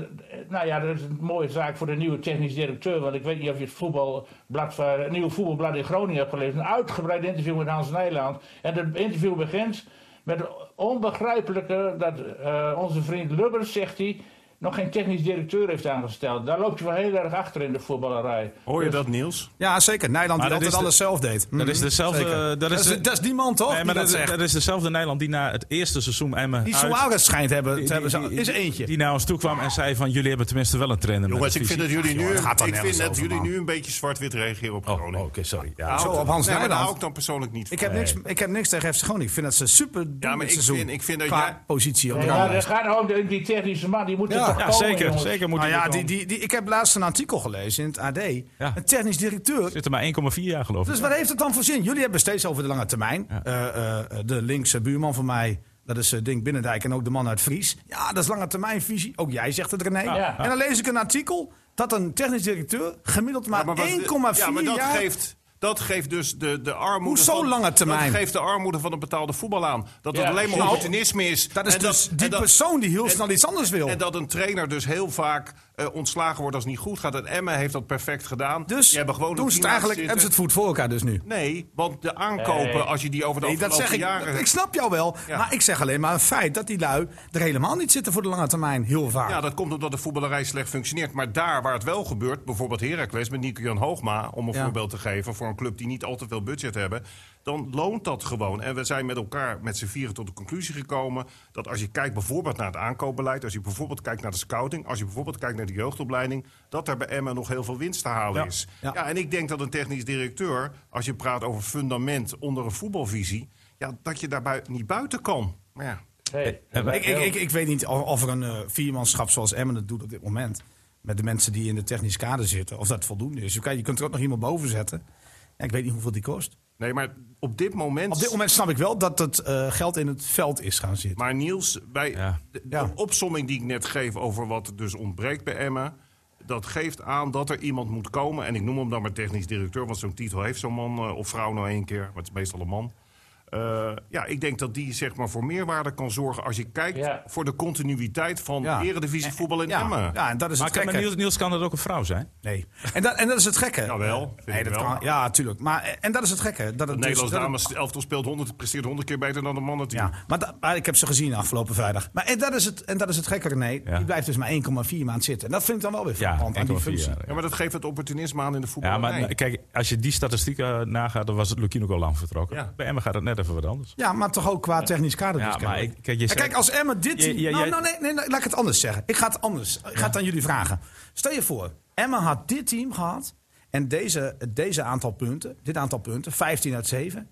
Speaker 5: nou ja, dat is een mooie zaak voor de nieuwe technisch directeur. Want ik weet niet of je het voetbalblad, van- het nieuwe voetbalblad in Groningen hebt gelezen. Een uitgebreid interview met Hans Nijland. En dat interview begint met het onbegrijpelijke dat eh, onze vriend Lubbers, zegt hij, nog geen technisch directeur heeft aangesteld. Daar loopt je wel heel erg achter in de voetballerij.
Speaker 4: Hoor je dat, Niels?
Speaker 2: Ja, zeker. Nederland die
Speaker 1: dat
Speaker 2: altijd
Speaker 1: is de-
Speaker 2: alles zelf deed. Mhm.
Speaker 1: Dat is dezelfde.
Speaker 2: Zeker.
Speaker 1: Dat,
Speaker 2: Dat
Speaker 1: is,
Speaker 2: is, dat is die man toch?
Speaker 1: nee, maar
Speaker 2: die
Speaker 1: dat,
Speaker 2: dat zegt.
Speaker 1: dat is dezelfde Nederland die na het eerste seizoen Emmen.
Speaker 2: die
Speaker 4: Nou,
Speaker 1: uit-
Speaker 2: Suarez schijnt hebben, te
Speaker 1: die- die-
Speaker 2: hebben. zo- is eentje.
Speaker 1: Die naar ons toe kwam en zei: van jullie hebben tenminste wel een trainer. met
Speaker 4: Jongens,
Speaker 1: een
Speaker 4: ik vind dat
Speaker 1: visie.
Speaker 4: jullie nu,
Speaker 2: dat gaat dan
Speaker 4: ik vind
Speaker 2: nergens
Speaker 4: dat
Speaker 2: over,
Speaker 4: jullie
Speaker 2: man.
Speaker 4: nu een beetje zwart-wit reageren op
Speaker 1: Oh,
Speaker 4: Groningen.
Speaker 1: oké, sorry. Ja,
Speaker 2: Zo, op
Speaker 4: Nee,
Speaker 2: Hans
Speaker 4: maar daar
Speaker 2: Nijland.
Speaker 4: hou ik dan persoonlijk niet van.
Speaker 2: Ik heb, niks, ik heb niks tegen FC Groningen. Ik vind dat ze super doen
Speaker 4: maar
Speaker 2: dit
Speaker 4: ik
Speaker 2: seizoen.
Speaker 4: vind- ik vind dat
Speaker 2: qua
Speaker 4: jij-
Speaker 2: positie op de
Speaker 5: Ja, dat
Speaker 2: ranglijst.
Speaker 5: gaat ook om die technische man, die moet er
Speaker 2: Ja,
Speaker 5: toch
Speaker 1: ja
Speaker 5: komen,
Speaker 1: zeker.
Speaker 5: jongens.
Speaker 1: zeker moet
Speaker 2: Nou
Speaker 1: hij
Speaker 2: ja,
Speaker 1: er
Speaker 2: die,
Speaker 1: komen.
Speaker 2: die, die, ik heb laatst een artikel gelezen in het AD. Een technisch directeur.
Speaker 1: Zit er maar 1,4 jaar geloof ik.
Speaker 2: Dus wat heeft het dan voor zin? Jullie hebben steeds over de lange termijn. Eh, eh, de linkse buurman van mij, dat is eh, Dink Binnendijk en ook de man uit Fries. Ja, dat is lange termijnvisie. Ook jij zegt het, René.
Speaker 5: ja.
Speaker 2: En dan lees ik een artikel dat een technisch directeur gemiddeld maar,
Speaker 4: Ja, maar wat-
Speaker 2: 1,4
Speaker 4: ja, maar dat
Speaker 2: jaar...
Speaker 4: Geeft, dat geeft dus de, de armoede.
Speaker 2: Hoezo
Speaker 4: van-
Speaker 2: lange termijn?
Speaker 4: Dat geeft de armoede van het betaalde voetbal aan. Dat het
Speaker 5: Ja,
Speaker 4: alleen maar
Speaker 5: nou,
Speaker 4: opportunisme is.
Speaker 2: Dat is
Speaker 4: En
Speaker 2: dus
Speaker 4: en
Speaker 2: die
Speaker 4: dat-
Speaker 2: persoon die heel
Speaker 4: en-
Speaker 2: snel iets anders wil.
Speaker 4: En dat een trainer dus heel vaak eh, ontslagen wordt als het niet goed gaat. En Emmen heeft dat perfect gedaan.
Speaker 2: dus
Speaker 4: Die hebben gewoon
Speaker 2: doen
Speaker 4: een
Speaker 2: ze het
Speaker 4: team laten
Speaker 2: eigenlijk, hebben ze het
Speaker 4: zitten.
Speaker 2: voet voor elkaar dus nu.
Speaker 4: Nee, want de aankopen,
Speaker 5: Nee.
Speaker 4: als je die over de
Speaker 2: Nee, dat
Speaker 4: afgelopen
Speaker 2: zeg ik.
Speaker 4: jaren...
Speaker 2: Ik snap jou wel.
Speaker 4: Ja.
Speaker 2: Maar ik zeg alleen maar een feit dat die lui er helemaal niet zitten voor de lange termijn. Heel vaak.
Speaker 4: Ja, dat komt omdat de voetballerij slecht functioneert. Maar daar waar het wel gebeurt, bijvoorbeeld Heracles met Nico-Jan Hoogma... om een
Speaker 2: Ja.
Speaker 4: voorbeeld te geven voor een club die niet al te veel budget hebben... dan loont dat gewoon. En we zijn met elkaar met z'n vieren tot de conclusie gekomen... dat als je kijkt bijvoorbeeld naar het aankoopbeleid... als je bijvoorbeeld kijkt naar de scouting... als je bijvoorbeeld kijkt naar de jeugdopleiding... dat daar bij Emmen nog heel veel winst te halen
Speaker 1: Ja.
Speaker 4: is.
Speaker 2: Ja.
Speaker 4: Ja. en ik denk dat een technisch directeur... als je praat over fundament onder een voetbalvisie... Ja, dat je daarbij niet buiten kan. Maar ja...
Speaker 5: Nee,
Speaker 1: Eh, maar
Speaker 2: ik, ik, ik, ik weet niet of of er een eh, viermanschap zoals Emmen het doet op dit moment. Met de mensen die in de technisch kader zitten. Of dat voldoende is. Je, kan, je kunt er ook nog iemand boven zetten. Ja, ik weet niet hoeveel die kost.
Speaker 4: Nee, maar op dit moment...
Speaker 2: Op dit moment snap ik wel dat het eh, geld in het veld is gaan zitten.
Speaker 4: Maar Niels, bij
Speaker 1: Ja.
Speaker 4: de, de
Speaker 2: Ja.
Speaker 4: opsomming die ik net geef over wat er dus ontbreekt bij Emmen... dat geeft aan dat er iemand moet komen. En ik noem hem dan maar technisch directeur... want zo'n titel heeft zo'n man eh, of vrouw nou één keer. Maar het is meestal een man. Eh, ja, ik denk dat die zeg maar, voor meerwaarde kan zorgen... als je kijkt
Speaker 5: Ja.
Speaker 4: voor de continuïteit van
Speaker 2: Ja.
Speaker 4: eredivisie voetbal in
Speaker 2: ja,
Speaker 4: Emmen.
Speaker 2: ja, en
Speaker 1: Maar
Speaker 2: dat is het
Speaker 1: kan-
Speaker 2: gekke.
Speaker 1: maar Niels, Niels kan dat ook een vrouw zijn.
Speaker 2: Nee. En, dat, en dat is het gekke.
Speaker 4: Jawel, vind
Speaker 2: Nee,
Speaker 4: ik
Speaker 2: dat
Speaker 4: wel.
Speaker 2: kan, ja, tuurlijk. Maar, eh, en dat is het gekke. Dat
Speaker 4: Het
Speaker 2: het dus-
Speaker 4: Nederlands
Speaker 2: dat het-
Speaker 4: dames elftal speelt 100, presteert 100 keer beter dan de mannen.
Speaker 2: Ja, maar, da- maar ik heb ze gezien afgelopen vrijdag. Maar en dat is het, en dat is het gekke, René.
Speaker 1: Ja.
Speaker 2: Die blijft dus maar 1,4 maand zitten. En dat vind ik dan wel weer
Speaker 1: Ja,
Speaker 2: verpand aan die
Speaker 1: 1,4
Speaker 2: functie.
Speaker 1: jaar.
Speaker 4: Ja, maar dat geeft het opportunisme aan in de
Speaker 1: Ja,
Speaker 4: voetballerij.
Speaker 1: maar nou, kijk, als je die statistieken eh, nagaat, dan was het Lukino Golan vertrokken.
Speaker 4: Ja.
Speaker 1: Bij Emmen gaat het net even wat anders.
Speaker 2: Ja, maar toch ook qua technisch kader.
Speaker 1: Ja,
Speaker 2: dus
Speaker 1: maar
Speaker 2: kennelijk.
Speaker 1: ik- kijk, je
Speaker 2: En
Speaker 1: zei-
Speaker 2: kijk, als Emmen dit...
Speaker 1: Je-
Speaker 2: team-
Speaker 1: je-
Speaker 2: nou,
Speaker 1: jij-
Speaker 2: nou, nee, nee, nee, laat ik het anders zeggen. Ik ga het anders. Ik ga het aan jullie vragen. Stel je voor, Emmen had dit team gehad... en deze, deze aantal punten, dit aantal punten, 15 uit 7...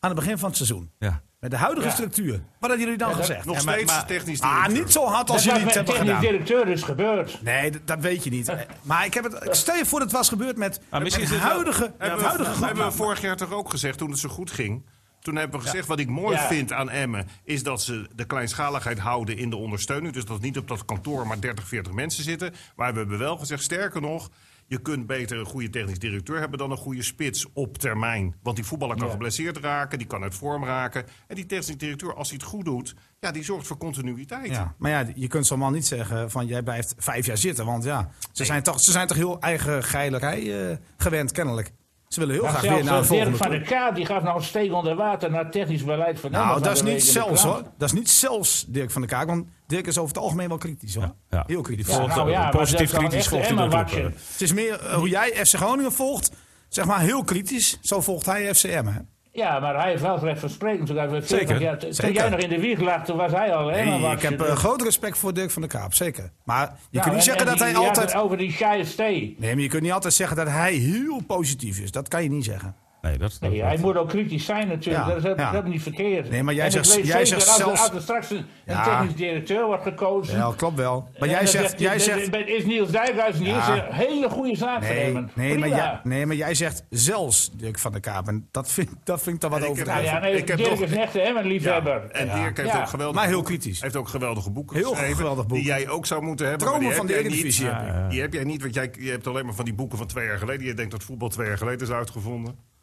Speaker 2: aan het begin van het seizoen.
Speaker 1: Ja.
Speaker 2: Met de huidige
Speaker 5: Ja.
Speaker 2: structuur. Wat hadden jullie dan gezegd?
Speaker 4: Nog
Speaker 1: Ja, maar-
Speaker 4: steeds
Speaker 1: maar-
Speaker 4: technisch
Speaker 2: Ah,
Speaker 4: directeur.
Speaker 2: niet zo hard als
Speaker 5: Dat
Speaker 2: jullie
Speaker 5: wat
Speaker 2: het
Speaker 5: met
Speaker 2: hebben
Speaker 5: technisch
Speaker 2: gedaan.
Speaker 5: directeur is gebeurd.
Speaker 2: Nee, d- dat weet je niet. Eh, Maar ik heb het, ik stel je voor dat het was gebeurd met,
Speaker 1: Maar
Speaker 2: met
Speaker 1: misschien
Speaker 2: het
Speaker 1: is het wel-
Speaker 2: huidige, het
Speaker 4: Hebben we,
Speaker 2: huidige groep.
Speaker 4: hebben we vorig jaar toch ook gezegd, toen het zo goed ging... Toen hebben we gezegd, wat ik mooi
Speaker 5: Ja.
Speaker 4: vind aan Emmen... is dat ze de kleinschaligheid houden in de ondersteuning. Dus dat niet op dat kantoor maar 30, 40 mensen zitten. Maar we hebben wel gezegd, sterker nog... je kunt beter een goede technisch directeur hebben... dan een goede spits op termijn. Want die voetballer kan
Speaker 5: Ja.
Speaker 4: geblesseerd raken, die kan uit vorm raken. En die technisch directeur, als hij het goed doet... ja, die zorgt voor continuïteit.
Speaker 2: Ja, maar ja, je kunt zo'n man niet zeggen van jij blijft vijf jaar zitten. Want ja, ze, zijn, toch, ze zijn toch heel eigen geilerij eh, gewend, kennelijk. Ze willen heel
Speaker 5: Maar
Speaker 2: graag weer naar de
Speaker 5: zelfs eh, Dirk
Speaker 2: volgende
Speaker 5: van
Speaker 2: ploeg.
Speaker 5: der Kaat die gaf nou een steek onder water naar technisch beleid van Emmen
Speaker 2: Nou,
Speaker 5: van
Speaker 2: dat is
Speaker 5: de
Speaker 2: niet
Speaker 5: week in de
Speaker 2: zelfs
Speaker 5: krant.
Speaker 2: hoor. Dat is niet zelfs Dirk van der Kaak. Want Dirk is over het algemeen wel kritisch hoor.
Speaker 1: Ja.
Speaker 2: Heel kritisch.
Speaker 1: Die volgt
Speaker 5: nou
Speaker 1: eh,
Speaker 5: ja, maar
Speaker 1: positief
Speaker 5: dat is
Speaker 1: kritisch
Speaker 5: wel een
Speaker 1: volgt
Speaker 5: echte
Speaker 1: hij de club. eh.
Speaker 5: Emma-watcher.
Speaker 2: Het is meer eh, hoe jij FC Groningen volgt. Zeg maar heel kritisch. Zo volgt hij FCM. Hè?
Speaker 1: eh.
Speaker 5: Ja, maar hij heeft wel het recht van spreken. Toen, hij weer 40
Speaker 1: Zeker,
Speaker 5: jaar- toen
Speaker 2: zeker.
Speaker 5: jij nog in de wieg lag, toen was hij al Dus,
Speaker 2: Nee,
Speaker 5: helemaal
Speaker 2: ik heb eh, groot respect voor Dirk van der Kaap, zeker. Maar je
Speaker 5: Je
Speaker 2: kunt niet zeggen dat hij altijd...
Speaker 5: Over die saaie stee.
Speaker 2: Nee, maar je kunt niet altijd zeggen dat hij heel positief is. Dat kan je niet zeggen.
Speaker 1: Nee, dat, dat,
Speaker 5: Nee, hij moet ook kritisch zijn natuurlijk.
Speaker 2: Ja,
Speaker 5: dat, is, helemaal-
Speaker 2: ja.
Speaker 5: dat is niet verkeerd.
Speaker 2: Nee, maar jij
Speaker 5: En ik
Speaker 2: zegt-
Speaker 5: weet
Speaker 2: jij
Speaker 5: zeker,
Speaker 2: zegt
Speaker 5: als, er-
Speaker 2: zelfs-
Speaker 5: als er straks een, een
Speaker 2: Ja.
Speaker 5: technisch directeur wordt gekozen...
Speaker 2: Ja, klopt wel. Maar
Speaker 5: en
Speaker 2: jij
Speaker 5: dan
Speaker 2: zegt... Jij
Speaker 5: dan-
Speaker 2: zegt
Speaker 5: dan Is Niels Dijkhuis niet
Speaker 2: Ja.
Speaker 5: eens een hele goede zaak voor
Speaker 2: nee,
Speaker 5: hem?
Speaker 2: nee, maar
Speaker 5: Prima.
Speaker 2: jij, nee, maar jij zegt zelfs Dirk van der Kaap. En dat vind, dat vind ik dan wat
Speaker 4: En ik heb-
Speaker 5: Nou
Speaker 2: overdreven.
Speaker 5: ja, nee,
Speaker 4: Ik heb
Speaker 5: Dirk
Speaker 4: nog-
Speaker 5: is echt een liefhebber.
Speaker 4: En Dirk heeft
Speaker 5: Ja,
Speaker 4: ook geweldige
Speaker 2: maar heel
Speaker 4: boeken-
Speaker 2: kritisch.
Speaker 4: heeft ook geweldige boeken
Speaker 2: Heel
Speaker 4: geschreven,
Speaker 2: geweldig boeken.
Speaker 4: Die jij ook zou moeten hebben.
Speaker 2: Dromen
Speaker 4: maar die
Speaker 2: van
Speaker 4: heb
Speaker 2: de
Speaker 4: jij niet.
Speaker 2: Eredivisie heb
Speaker 4: Die- Die heb jij niet, want jij je hebt alleen maar van die boeken van twee jaar geleden. Je denkt dat voetbal twee jaar geleden is uitgevonden.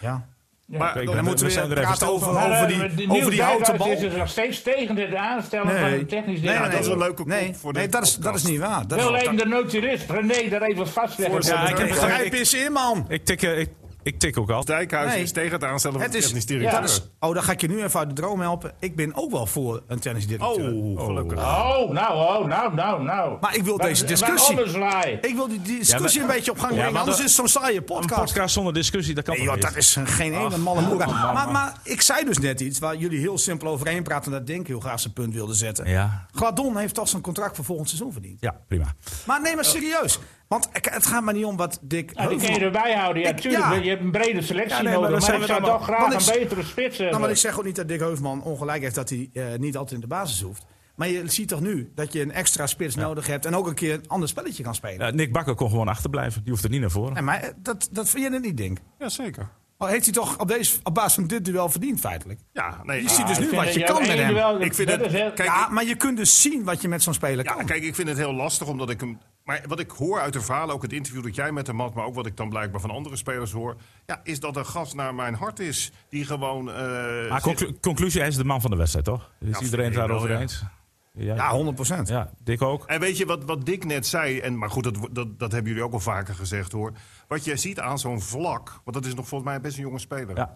Speaker 2: Ja.
Speaker 4: Maar
Speaker 1: Kijk, we-
Speaker 4: dan
Speaker 2: Dan
Speaker 4: moet-
Speaker 2: moeten we
Speaker 1: zijn er
Speaker 2: weer
Speaker 1: even
Speaker 2: praten
Speaker 1: stil
Speaker 2: over,
Speaker 1: van.
Speaker 5: Maar,
Speaker 2: over
Speaker 5: eh,
Speaker 2: die,
Speaker 5: Niels
Speaker 2: over die houten
Speaker 5: Dijkhuis
Speaker 2: bal.
Speaker 5: is dus nog steeds tegen het aanstellen van een technisch
Speaker 2: nee,
Speaker 5: directeur.
Speaker 2: nee,
Speaker 4: dat is een leuke kop
Speaker 2: nee,
Speaker 4: voor
Speaker 2: nee,
Speaker 4: deze
Speaker 2: dat is,
Speaker 4: podcast.
Speaker 2: dat is niet waar. Dat is-
Speaker 5: Wil even
Speaker 2: dat-
Speaker 5: de notulist René daar even vastleggen.
Speaker 4: Voorzitter,
Speaker 1: Ja, ik heb
Speaker 4: Dijkhuis-
Speaker 1: begrepen.
Speaker 2: Grijp eens in, man.
Speaker 1: Ik tik, eh, ik, ik tik ook al.
Speaker 4: Dijkhuis
Speaker 2: Nee.
Speaker 4: is tegen het aanstellen van
Speaker 2: Het
Speaker 4: de technisch
Speaker 2: is,
Speaker 4: directeur.
Speaker 2: dat is, oh, dan ga ik je nu even uit de droom helpen. Ik ben ook wel voor een tennisdirecteur.
Speaker 4: Oh, gelukkig.
Speaker 5: Oh, nou, oh, nou, nou, nou.
Speaker 2: Maar ik wil
Speaker 5: Waar-
Speaker 2: deze
Speaker 5: waar
Speaker 2: discussie-
Speaker 5: alles laai.
Speaker 2: Ik wil die
Speaker 1: Ja,
Speaker 2: discussie
Speaker 1: maar-
Speaker 2: een beetje op gang
Speaker 1: Ja,
Speaker 2: brengen,
Speaker 1: maar
Speaker 2: anders
Speaker 1: dat-
Speaker 2: is het zo'n saaie
Speaker 1: Een
Speaker 2: podcast.
Speaker 1: podcast zonder discussie, dat kan
Speaker 2: Nee,
Speaker 1: toch
Speaker 2: joh,
Speaker 1: niet?
Speaker 2: dat is geen ene malle moer. Maar, maar ik zei dus net iets waar jullie heel simpel overheen praten... en dat denk ik heel graag zijn punt wilden zetten.
Speaker 1: Ja.
Speaker 2: Gladon heeft toch zijn contract voor volgend seizoen verdiend.
Speaker 1: Ja, prima.
Speaker 2: Maar neem
Speaker 1: Oh.
Speaker 2: maar serieus. Want ik- het gaat maar niet om wat Dick
Speaker 5: Nou, die
Speaker 2: Heuvel-
Speaker 5: kun je erbij houden. Ja,
Speaker 2: Ik-
Speaker 5: tuurlijk.
Speaker 2: ja.
Speaker 5: Je hebt een brede selectie
Speaker 1: Ja, nee, maar dat
Speaker 5: nodig. Maar,
Speaker 1: zijn
Speaker 5: ik
Speaker 1: we
Speaker 5: zou
Speaker 1: dan
Speaker 5: toch
Speaker 1: maar-
Speaker 5: graag
Speaker 2: Want ik-
Speaker 5: een betere spits eh, hebben.
Speaker 2: Nou, maar ik zeg ook niet dat Dick Heuvelman ongelijk heeft dat hij eh, niet altijd in de basis hoeft. Maar je ziet toch nu dat je een extra spits nodig hebt... en ook een keer een ander spelletje kan spelen.
Speaker 1: Ja, Eh, Nick Bakker kon gewoon achterblijven. Die hoeft er niet naar voren.
Speaker 2: Nee, maar eh, dat, dat vind je het niet, Dink.
Speaker 4: Jazeker.
Speaker 2: Maar heeft hij toch op, deze, op basis van dit duel verdiend, feitelijk?
Speaker 4: Ja, nee.
Speaker 2: Je
Speaker 4: ah,
Speaker 2: ziet dus
Speaker 5: Ik
Speaker 2: nu
Speaker 5: vind
Speaker 2: wat
Speaker 5: dat
Speaker 2: je
Speaker 5: jij
Speaker 2: kan
Speaker 5: op
Speaker 2: met
Speaker 5: één
Speaker 2: hem.
Speaker 5: duel-
Speaker 4: Ik vind
Speaker 5: dat
Speaker 4: het-
Speaker 5: is heel-
Speaker 4: kijk,
Speaker 2: ja,
Speaker 4: ik-
Speaker 2: maar je kunt dus zien wat je met zo'n speler
Speaker 4: Ja,
Speaker 2: kan.
Speaker 4: kijk, ik vind het heel lastig omdat ik hem. Maar wat ik hoor uit de verhalen, ook het interview dat jij met hem had, maar ook wat ik dan blijkbaar van andere spelers hoor. Ja, is dat een gast naar mijn hart is. Die gewoon. eh,
Speaker 1: Maar
Speaker 4: zit-
Speaker 1: conclu- conclusie, hij is de man van de wedstrijd, toch? Is
Speaker 4: Ja,
Speaker 1: iedereen het
Speaker 4: vind ik
Speaker 1: daarover
Speaker 4: wel, ja. Eh,
Speaker 1: eens? Ja,
Speaker 2: Ja,
Speaker 1: ja,
Speaker 2: 100 procent.
Speaker 1: Dick ook.
Speaker 4: En weet je wat, wat Dick net zei, en, maar goed, dat, wo- dat, dat hebben jullie ook al vaker gezegd hoor. Wat je ziet aan zo'n vlak, want dat is nog volgens mij best een jonge speler.
Speaker 1: Ja.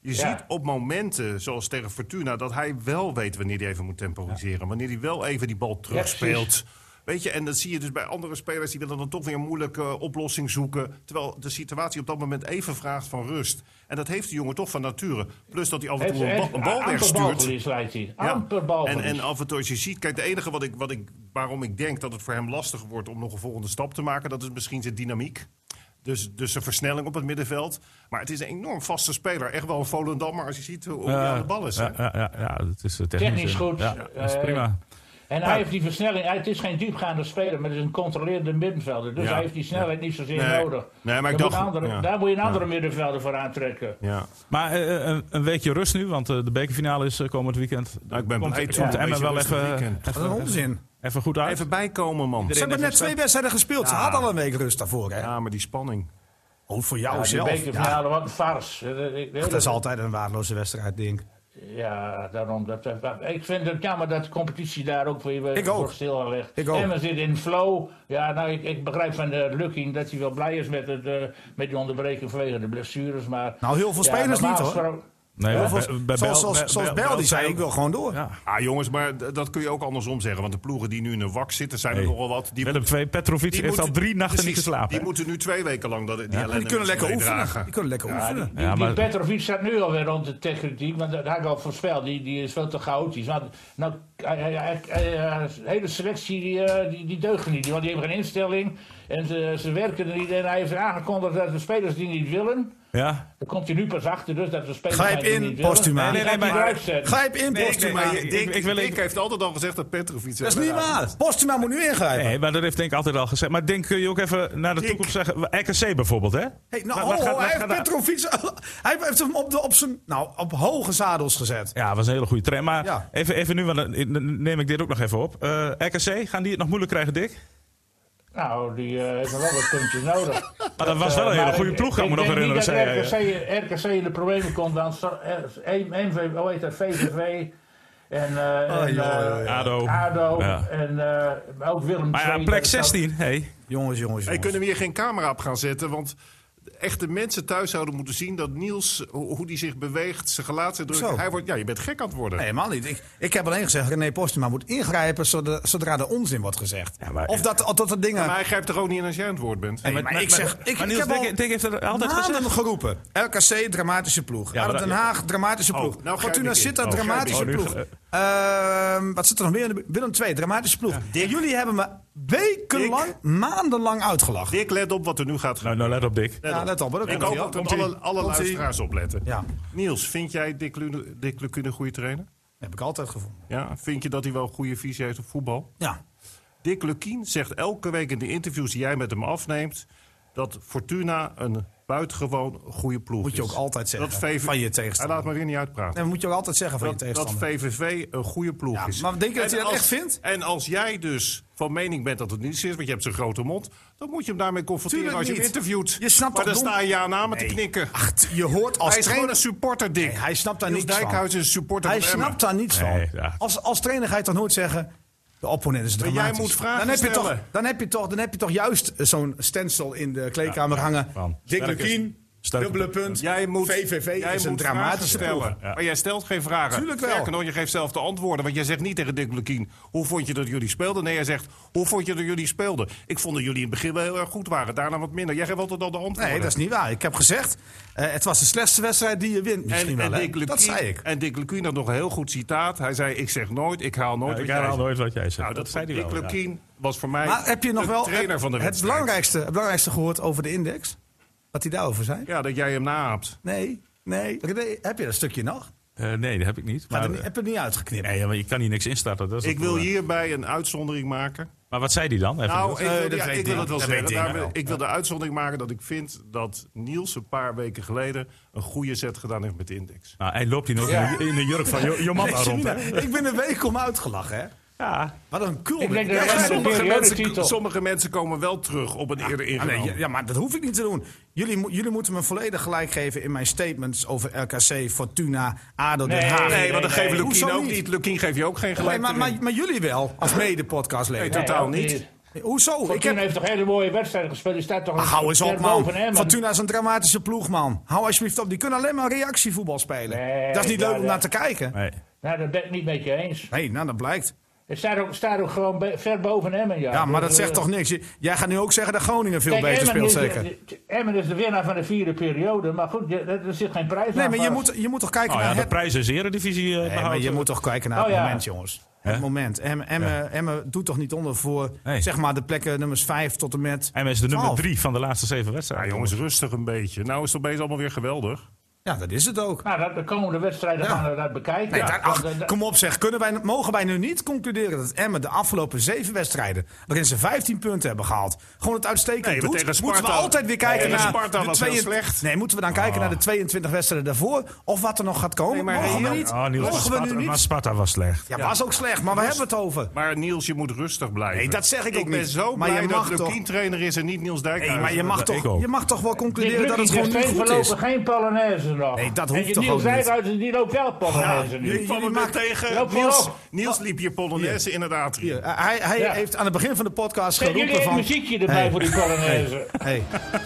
Speaker 4: Je
Speaker 5: Ja.
Speaker 4: ziet op momenten, zoals tegen Fortuna, dat hij wel weet wanneer hij even moet temporiseren. Wanneer hij wel even die bal terugspeelt. Weet je, en dat zie je dus bij andere spelers, die willen dan toch weer een moeilijke eh, oplossing zoeken. Terwijl de situatie op dat moment even vraagt van rust. En dat heeft de jongen toch van nature. Plus dat hij af en
Speaker 5: Het is
Speaker 4: toe een,
Speaker 5: echt
Speaker 4: bal- een bal
Speaker 5: amper
Speaker 4: wegstuurt.
Speaker 5: balverlies leidt hij.
Speaker 4: Ja.
Speaker 5: Amper
Speaker 4: en, en
Speaker 5: balverlies.
Speaker 4: af en toe als je ziet, kijk, de enige wat ik, wat ik, waarom ik denk dat het voor hem lastig wordt om nog een volgende stap te maken, dat is misschien zijn dynamiek. Dus, dus zijn versnelling op het middenveld. Maar het is een enorm vaste speler. Echt wel een Volendammer als je ziet hoe hoe hij aan de bal is. hè.
Speaker 1: Ja, ja, ja, ja, dat is eh, technisch,
Speaker 5: Technisch
Speaker 1: eh,
Speaker 5: goed.
Speaker 1: Ja, dat is
Speaker 5: Eh,
Speaker 1: prima.
Speaker 5: En
Speaker 4: nou-
Speaker 5: hij heeft die versnelling. hij- Het is geen diepgaande speler, maar het is een controlerende middenvelder. Dus
Speaker 4: Ja.
Speaker 5: hij heeft die snelheid niet zozeer
Speaker 4: Nee.
Speaker 5: nodig.
Speaker 4: Nee, maar ik
Speaker 5: Daar
Speaker 4: dacht-
Speaker 5: moet een andere-
Speaker 4: ja. Oh,
Speaker 5: Daar moet je een andere middenvelder voor aantrekken.
Speaker 4: Ja.
Speaker 1: Maar eh, een, een weekje rust nu, want eh, de bekerfinale is eh, komend weekend.
Speaker 4: Nou, ik ben
Speaker 1: komt
Speaker 4: blij
Speaker 1: komt
Speaker 4: toch,
Speaker 1: de
Speaker 4: een
Speaker 1: Emmen wel
Speaker 4: beetje rustig
Speaker 1: even, eh,
Speaker 4: weekend.
Speaker 2: Wat een
Speaker 1: even,
Speaker 2: onzin.
Speaker 1: even goed uit.
Speaker 4: Even bijkomen, man.
Speaker 2: Ze hebben net twee wedstrijden gespeeld. Ze hadden al een week rust daarvoor. Hè?
Speaker 4: Ja, maar die spanning.
Speaker 2: Ook voor
Speaker 5: Ja,
Speaker 2: jou
Speaker 5: die
Speaker 2: zelf.
Speaker 5: bekerfinale, wat een farce. Eh, eh, eh,
Speaker 2: dat is altijd een waardeloze wedstrijd, Dink.
Speaker 5: Ja, daarom. Dat, dat- ik vind het jammer dat de competitie daar ook weer weer
Speaker 2: Ik ook.
Speaker 5: wordt stilgelegd.
Speaker 2: Ik ook.
Speaker 5: Emmen zit in flow. Ja, nou, ik, ik begrijp van de Lukking dat hij wel blij is met, het, eh, met die onderbreking vanwege de blessures. Maar,
Speaker 2: Nou, heel veel
Speaker 5: ja,
Speaker 2: spelers
Speaker 5: normaal
Speaker 2: niet, hoor.
Speaker 5: gesproken-
Speaker 1: Nee,
Speaker 2: Heel
Speaker 1: bij-
Speaker 2: veel-
Speaker 1: bij- bij Bel-
Speaker 2: zoals zoals,
Speaker 1: bij-
Speaker 2: zoals
Speaker 1: bij-
Speaker 2: Bel, die zei,
Speaker 1: ook-
Speaker 2: ik wil gewoon door.
Speaker 1: Ja.
Speaker 4: Ah, jongens, maar d- dat kun je ook andersom zeggen. Want de ploegen die nu in een wak zitten, zijn
Speaker 1: Hey.
Speaker 4: er nogal wat. Die
Speaker 1: Willem
Speaker 4: moeten-
Speaker 1: II, Petrovic
Speaker 4: die
Speaker 1: heeft al
Speaker 4: moeten-
Speaker 1: drie nachten niet
Speaker 4: precies,
Speaker 1: geslapen.
Speaker 4: Die
Speaker 1: hè?
Speaker 4: moeten nu twee weken lang dat, die,
Speaker 2: Maar die kunnen lekker oefenen. Die kunnen lekker oefenen.
Speaker 5: Die,
Speaker 1: Ja, maar-
Speaker 5: die Petrovic staat nu alweer onder techniek, want dat had ik al voorspeld. Die, die is veel te chaotisch. Want, nou, hij- hij- hij- hij- hij- de hele selectie die, eh, die, die deugen niet, want die hebben geen instelling. En ze, ze werken er niet. En hij heeft aangekondigd dat de spelers die niet willen,
Speaker 1: Ja?
Speaker 5: daar komt hij nu pas achter, dus dat de spelers
Speaker 2: Grijp
Speaker 5: zijn die
Speaker 2: in,
Speaker 5: niet willen. eh,
Speaker 2: Postuma.
Speaker 5: Die
Speaker 1: Nee, nee,
Speaker 5: gaat
Speaker 1: nee,
Speaker 5: hij
Speaker 1: maar-
Speaker 5: eruit zetten.
Speaker 2: Grijp in,
Speaker 4: Nee, nee,
Speaker 2: Postuma.
Speaker 4: maar
Speaker 1: ik-
Speaker 4: Dick, Dick,
Speaker 1: ik wil even-
Speaker 4: heeft altijd al gezegd dat Petrovic...
Speaker 2: dat is niet waar. Postuma moet nu ingrijpen.
Speaker 1: Nee, maar dat heeft denk ik altijd al gezegd. Maar denk kun je ook even naar de toekomst zeggen. RKC bijvoorbeeld, hè?
Speaker 2: Hey, nou,
Speaker 1: Wat-
Speaker 2: oh,
Speaker 1: wat gaat- wat
Speaker 2: hij heeft
Speaker 1: gaat daar-
Speaker 2: Petrovic... hij heeft hem op, de, op, zijn, nou, op hoge zadels gezet.
Speaker 1: Ja, was een hele goede train. Maar
Speaker 2: Ja.
Speaker 1: even, even nu, want dan dan neem ik dit ook nog even op. Eh RKC, gaan die het nog moeilijk krijgen, Dick?
Speaker 5: Nou, die eh, heeft nog wel wat puntjes nodig.
Speaker 1: Maar dat was wel een
Speaker 5: Eh,
Speaker 1: hele
Speaker 5: maar
Speaker 1: goede
Speaker 5: ik-
Speaker 1: ploeg, kan ik me nog
Speaker 5: denk niet
Speaker 1: herinneren,
Speaker 5: dat
Speaker 1: zei
Speaker 5: RKC, RKC in de problemen komt, dan sta- eh, M- MV, hoe heet dat, VVV en, eh,
Speaker 1: Ah,
Speaker 5: en,
Speaker 2: joh,
Speaker 5: eh,
Speaker 2: joh, joh.
Speaker 1: ADO.
Speaker 5: ADO
Speaker 1: Ja.
Speaker 5: en eh, ook Willem
Speaker 1: Maar ja,
Speaker 5: II,
Speaker 1: plek
Speaker 5: dat is ook-
Speaker 1: 16, hey.
Speaker 2: Jongens, jongens,
Speaker 4: Hey,
Speaker 2: jongens.
Speaker 4: kunnen we hier geen camera op gaan zetten? Want echt de mensen thuis zouden moeten zien dat Niels, ho- hoe die zich beweegt, zijn
Speaker 2: Zo.
Speaker 4: gelaatsuitdruk... Hij wordt, ja, je bent gek aan het worden.
Speaker 2: Nee, helemaal niet. Ik, ik heb alleen gezegd, René Postuma moet ingrijpen zodra, zodra er onzin wordt gezegd.
Speaker 1: Ja, maar-
Speaker 2: of dat, of dat er dingen...
Speaker 4: Maar hij grijpt er ook niet in als jij aan het woord bent.
Speaker 2: Nee, maar, ik zeg, ik,
Speaker 1: maar
Speaker 2: ik
Speaker 1: Niels
Speaker 2: heb al
Speaker 1: Dick- Dick heeft er altijd Oh,
Speaker 2: maanden
Speaker 1: gezegd.
Speaker 2: geroepen. LKC, dramatische ploeg.
Speaker 1: Ja, maar
Speaker 2: ADO
Speaker 1: dat-
Speaker 2: Den Haag, dramatische
Speaker 4: Oh,
Speaker 2: ploeg.
Speaker 4: nou grijp
Speaker 2: Fortuna
Speaker 4: ik in.
Speaker 2: Sittard,
Speaker 4: Oh, grijp
Speaker 2: dramatische
Speaker 1: ik in.
Speaker 2: ploeg.
Speaker 1: Oh, nu
Speaker 2: Ehm, wat zit er nog meer in de bu- Willem II, dramatische ploeg. Jullie hebben me wekenlang, maandenlang uitgelachen.
Speaker 4: Dick, let op wat er nu gaat
Speaker 1: Nou,
Speaker 4: gebeuren.
Speaker 1: nou, let op, Dick.
Speaker 4: Let
Speaker 2: Ja,
Speaker 4: op.
Speaker 2: let op, hoor. dat
Speaker 4: Ik
Speaker 2: komt
Speaker 4: hoop
Speaker 2: ie,
Speaker 4: ook
Speaker 2: hoor.
Speaker 4: dat
Speaker 2: Komt-ie.
Speaker 4: alle, alle
Speaker 2: Komt-ie.
Speaker 4: luisteraars opletten.
Speaker 2: Ja,
Speaker 4: Niels, vind jij Dick Lune- Dick Lukune een goede trainer?
Speaker 2: heb ik altijd gevonden.
Speaker 4: Ja, vind je dat hij wel een goede visie heeft op voetbal?
Speaker 2: Ja,
Speaker 4: Dick Lukien zegt elke week in de interviews die jij met hem afneemt... dat Fortuna een buitengewoon goede ploeg
Speaker 2: moet je
Speaker 4: is.
Speaker 2: ook altijd zeggen
Speaker 4: dat VV...
Speaker 2: van je
Speaker 4: Hij
Speaker 2: tegenstander.
Speaker 4: laat me weer niet uitpraten.
Speaker 2: En moet je ook altijd zeggen van je
Speaker 4: dat, dat
Speaker 2: tegenstander.
Speaker 4: VVV een goede ploeg
Speaker 2: Ja,
Speaker 4: is.
Speaker 2: maar denk je dat
Speaker 4: En
Speaker 2: hij dat
Speaker 4: als-
Speaker 2: echt vindt?
Speaker 4: En als jij dus van mening bent dat het niet zo is, want je hebt zo'n grote mond... dan moet je hem daarmee confronteren
Speaker 2: Tuurlijk
Speaker 4: als je hem
Speaker 2: niet.
Speaker 4: interviewt.
Speaker 2: Je snapt
Speaker 4: maar
Speaker 2: toch
Speaker 4: dan
Speaker 2: dom-
Speaker 4: sta je aan namen te
Speaker 2: Nee.
Speaker 4: knikken.
Speaker 2: Ach, t- je hoort als
Speaker 4: hij is gewoon
Speaker 2: trainer...
Speaker 4: een supporter, Dick.
Speaker 2: Nee, hij snapt daar
Speaker 4: Niels
Speaker 2: niks van.
Speaker 4: Dijkhuis is een supporter
Speaker 2: Hij
Speaker 4: van Emmen.
Speaker 2: snapt daar niets van.
Speaker 1: Nee, ja.
Speaker 2: als, als trainer ga je toch nooit zeggen... De opponent is
Speaker 4: jij
Speaker 2: dramatisch.
Speaker 4: moet vragen
Speaker 2: dan heb Je toch,
Speaker 4: stellen.
Speaker 2: dan, heb je toch, dan heb je toch juist eh, zo'n stencil in de kleedkamer hangen.
Speaker 1: man.
Speaker 2: Dick
Speaker 1: Sterke-
Speaker 2: Lukien,
Speaker 1: sterke-
Speaker 2: dubbele punt.
Speaker 4: Jij moet,
Speaker 2: VVV
Speaker 4: jij
Speaker 2: is een
Speaker 4: moet
Speaker 2: dramatische
Speaker 4: vragen
Speaker 2: ploeg.
Speaker 4: stellen. Maar jij stelt geen vragen.
Speaker 2: Tuurlijk wel.
Speaker 4: Sterker nog, je geeft zelf de antwoorden. Want jij zegt niet tegen Dick Lukien... hoe vond je dat jullie speelden? Nee, jij zegt, hoe vond je dat jullie speelden? Ik vond dat jullie in het begin wel heel erg goed waren. Daarna wat minder. Jij geeft altijd al de antwoorden.
Speaker 2: Nee, dat is niet waar. Ik heb gezegd, eh, het was de slechtste wedstrijd die je wint. Misschien wel, hè? Dat zei ik.
Speaker 4: En Dick Lukien had nog een heel goed citaat. Hij zei, ik zeg nooit, ik haal nooit
Speaker 1: ik
Speaker 4: wat jij
Speaker 1: herhaal
Speaker 4: zegt."
Speaker 1: nooit wat jij zegt.
Speaker 4: Nou, dat,
Speaker 1: zei hij
Speaker 4: Dick
Speaker 1: wel. ja.
Speaker 4: Lukien was voor mij
Speaker 2: Maar heb je nog
Speaker 4: de
Speaker 2: wel
Speaker 4: trainer
Speaker 2: het,
Speaker 4: van de
Speaker 2: het
Speaker 4: wedstrijd.
Speaker 2: belangrijkste, het belangrijkste gehoord over de index? Wat hij daarover zei?
Speaker 4: Ja, dat jij hem naapt.
Speaker 2: Nee, nee. Nee, Heb je dat stukje nog?
Speaker 1: Eh, nee, dat heb ik niet.
Speaker 4: Nou,
Speaker 2: Gaat
Speaker 1: Maar, eh,
Speaker 2: er niet- heb je het niet uitgeknipt?
Speaker 1: nee, ja, maar je kan hier niks instarten. Dat is
Speaker 4: Ik
Speaker 1: het
Speaker 4: wil
Speaker 1: probleem.
Speaker 4: hierbij een uitzondering maken.
Speaker 1: Maar wat zei hij dan? Even
Speaker 4: Nou,
Speaker 1: door.
Speaker 4: ik, wil-
Speaker 2: dat
Speaker 4: ja,
Speaker 2: weet
Speaker 4: ik wil
Speaker 2: Ding.
Speaker 4: het wel
Speaker 2: Dat
Speaker 4: zeggen.
Speaker 2: weet Ding
Speaker 4: Daar wil-
Speaker 2: wel.
Speaker 4: ik wil de uitzondering maken dat ik vind dat Niels een paar weken geleden een goede set gedaan heeft met de index.
Speaker 1: Nou, hij loopt hier nog in de- in de jurk van Jo- Jomanda
Speaker 2: Nee,
Speaker 1: rond. hè?
Speaker 2: Selina, Ik ben een week om uitgelachen, hè?
Speaker 1: Ja,
Speaker 2: Wat een kul.
Speaker 5: Ik denk
Speaker 2: Ja,
Speaker 5: dat
Speaker 2: ja,
Speaker 5: wij met een
Speaker 2: sommige mensen-
Speaker 5: periodetitel.
Speaker 4: Sommige mensen komen wel terug op een eerder
Speaker 2: Ah, nee,
Speaker 4: ingenomen.
Speaker 2: ja, maar dat hoef ik niet te doen. Jullie, mo- jullie moeten me volledig gelijk geven in mijn statements over RKC, Fortuna, ADO, Den
Speaker 5: Nee,
Speaker 2: Haag.
Speaker 4: nee, want dan
Speaker 5: nee,
Speaker 4: geven
Speaker 5: nee.
Speaker 4: Lukien
Speaker 2: Hoezo
Speaker 4: ook
Speaker 2: niet?
Speaker 4: niet. Lukien geef je ook geen
Speaker 2: Nee,
Speaker 4: gelijk.
Speaker 2: maar, maar, maar jullie wel, als mede-podcastleden.
Speaker 4: Nee, totaal
Speaker 5: ook
Speaker 4: niet.
Speaker 2: Hoezo? Ik
Speaker 5: Fortuna
Speaker 2: heb...
Speaker 5: heeft toch hele mooie wedstrijden gespeeld. Die staat toch
Speaker 2: Ach, hou eens
Speaker 5: ver
Speaker 2: op, man.
Speaker 5: boven Emmen.
Speaker 2: Fortuna is een dramatische ploeg, man. Hou alsjeblieft op. Die kunnen alleen maar reactievoetbal spelen.
Speaker 5: Nee,
Speaker 2: dat is niet
Speaker 5: ja,
Speaker 2: leuk om
Speaker 5: ja.
Speaker 2: naar te kijken.
Speaker 1: nee. Oh,
Speaker 5: Nou, dat ben ik niet met je eens.
Speaker 2: Nee, nou, dat blijkt.
Speaker 5: Het staat ook, staat ook gewoon be- ver boven Emmen, ja.
Speaker 2: Ja, maar dat
Speaker 5: Dus,
Speaker 2: zegt
Speaker 5: eh,
Speaker 2: toch niks. Je- Jij gaat nu ook zeggen dat Groningen veel
Speaker 5: kijk,
Speaker 2: beter
Speaker 5: Emmen
Speaker 2: speelt,
Speaker 5: is-
Speaker 2: zeker.
Speaker 5: eh, Emmen is de winnaar van de vierde periode. Maar goed, je- er er zit geen prijs
Speaker 2: Nee,
Speaker 5: aan
Speaker 2: maar je
Speaker 5: vast.
Speaker 2: moet, je moet toch kijken
Speaker 1: Oh ja,
Speaker 2: naar
Speaker 1: de
Speaker 2: het...
Speaker 1: prijs is eredivisie eh
Speaker 2: Nee, maar je
Speaker 1: behouden.
Speaker 2: moet toch kijken naar
Speaker 5: Oh,
Speaker 2: het
Speaker 5: ja.
Speaker 2: moment, jongens. Het
Speaker 1: Hè?
Speaker 2: moment. Emme Emme Emme doet toch niet onder voor
Speaker 1: Nee.
Speaker 2: zeg maar, de plekken nummers 5 tot en met.
Speaker 1: En hij is de nummer
Speaker 2: 12.
Speaker 1: drie van de laatste zeven
Speaker 4: Ja,
Speaker 1: wedstrijden.
Speaker 2: Ah,
Speaker 4: jongens, rustig een beetje. Nou is het opeens allemaal weer geweldig.
Speaker 2: Ja, dat is het ook.
Speaker 5: Nou, dat, de komende wedstrijden
Speaker 2: Ja.
Speaker 5: gaan we dat bekijken.
Speaker 2: Nee,
Speaker 5: Ja,
Speaker 2: daar- ach,
Speaker 5: want, eh, da-
Speaker 2: kom op zeg, kunnen wij, mogen wij nu niet concluderen dat Emmen de afgelopen zeven wedstrijden, waarin ze 15 punten hebben gehaald, gewoon het uitstekend
Speaker 4: Nee, want
Speaker 2: doet?
Speaker 4: tegen
Speaker 2: moeten we
Speaker 4: Sparta-
Speaker 2: altijd weer kijken
Speaker 4: Nee,
Speaker 2: naar
Speaker 4: tegen Sparta
Speaker 2: de
Speaker 4: was heel
Speaker 2: 22
Speaker 4: slecht.
Speaker 2: Nee, moeten we dan
Speaker 1: Oh.
Speaker 2: kijken naar de 22 wedstrijden daarvoor of wat er nog gaat komen?
Speaker 4: Nee, maar
Speaker 2: mogen we
Speaker 4: hier-
Speaker 2: niet?
Speaker 1: Oh, Niels, maar
Speaker 2: mogen we
Speaker 1: Sparta,
Speaker 2: nu
Speaker 1: maar
Speaker 2: niet?
Speaker 1: Sparta was slecht.
Speaker 2: Ja, was ook slecht, maar waar hebben we het over?
Speaker 4: Maar Niels, je moet rustig blijven.
Speaker 2: Nee, dat zeg ik ook
Speaker 4: ben
Speaker 2: niet.
Speaker 4: zo
Speaker 2: Maar
Speaker 4: blij
Speaker 2: je
Speaker 4: dat
Speaker 2: mag toch-
Speaker 4: Lukien trainer is en niet Niels Dijkhuis.
Speaker 2: Nee, maar je mag,
Speaker 1: dat ik
Speaker 2: toch,
Speaker 1: ook.
Speaker 2: je mag toch wel
Speaker 5: Dick
Speaker 2: concluderen dat het
Speaker 5: Lukien
Speaker 2: gewoon
Speaker 5: heeft
Speaker 2: niet goed
Speaker 5: geen
Speaker 2: is?
Speaker 5: voorlopig geen Polonaise nog.
Speaker 2: Nee, dat
Speaker 5: En
Speaker 2: hoeft
Speaker 5: je-
Speaker 2: toch
Speaker 5: Niels
Speaker 2: ook niet?
Speaker 5: Dijkhuis, die loopt wel
Speaker 4: Ik
Speaker 5: Polonaise nu.
Speaker 4: kwam
Speaker 2: Jullie
Speaker 4: hem weer
Speaker 2: maken-
Speaker 4: tegen.
Speaker 5: Loop maar
Speaker 4: Niels,
Speaker 5: op.
Speaker 4: Niels liep je Polonaise in het atrium.
Speaker 2: Hier, hij hij
Speaker 5: Ja.
Speaker 2: heeft aan het begin van de podcast
Speaker 5: Zet jullie
Speaker 2: geroepen
Speaker 5: een
Speaker 2: van...
Speaker 5: muziekje erbij
Speaker 2: Hey.
Speaker 5: voor die Polonaise.
Speaker 2: Hey,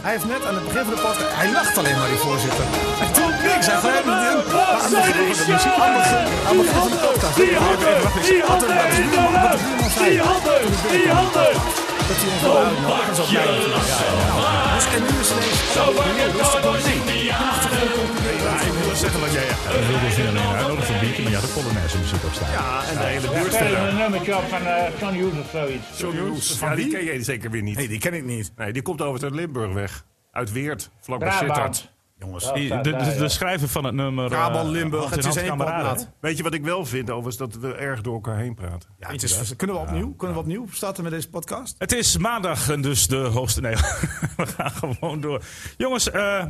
Speaker 2: hij heeft net aan het begin van de podcast... Hij lacht alleen maar, die voorzitter. Hij doet niks. Hij grijpt niet in. Maar aan het begin van de muziek- aan het begin- aan het begin van de podcast...
Speaker 6: Die handen, die handen in de lucht. Die handen, die handen.
Speaker 2: Dat hij ons wel uitnodigt. Dat is ook blij natuurlijk. Ja, ja, ja. Dus en nu is het ineens...
Speaker 6: Zo bang het nooit was in die
Speaker 4: Ja, ik wilde zeggen wat jij...
Speaker 1: Dat wilde ze niet alleen uitnodigen voor een biertje, maar ja, de Polonaise muziek ook staan.
Speaker 4: Ja, en de hele
Speaker 5: Ja,
Speaker 4: buurt
Speaker 5: spelen we
Speaker 4: verder.
Speaker 5: een nummertje op van eh, John Hughes of zoiets.
Speaker 4: John Hughes.
Speaker 2: Van
Speaker 4: Ja, die
Speaker 2: wie?
Speaker 4: ken jij zeker weer niet.
Speaker 2: Nee, die ken ik niet.
Speaker 4: Nee, die komt over uit Limburg weg. Uit Weert, vlakbij Sittard.
Speaker 5: Brabant.
Speaker 2: Jongens.
Speaker 1: Die- de, de, de schrijver van het nummer. eh,
Speaker 2: Brabant, Limburg,
Speaker 1: Hand in
Speaker 2: het is
Speaker 1: Hand
Speaker 2: één
Speaker 1: Kameraden.
Speaker 2: potnaad.
Speaker 4: Weet je wat ik wel vind overigens? Dat we erg door elkaar heen praten.
Speaker 2: Ja, het is, kunnen we opnieuw, kunnen we opnieuw starten met deze podcast?
Speaker 1: Het is maandag en dus de hoogste. Nee, we gaan gewoon door. Jongens, eh, eh,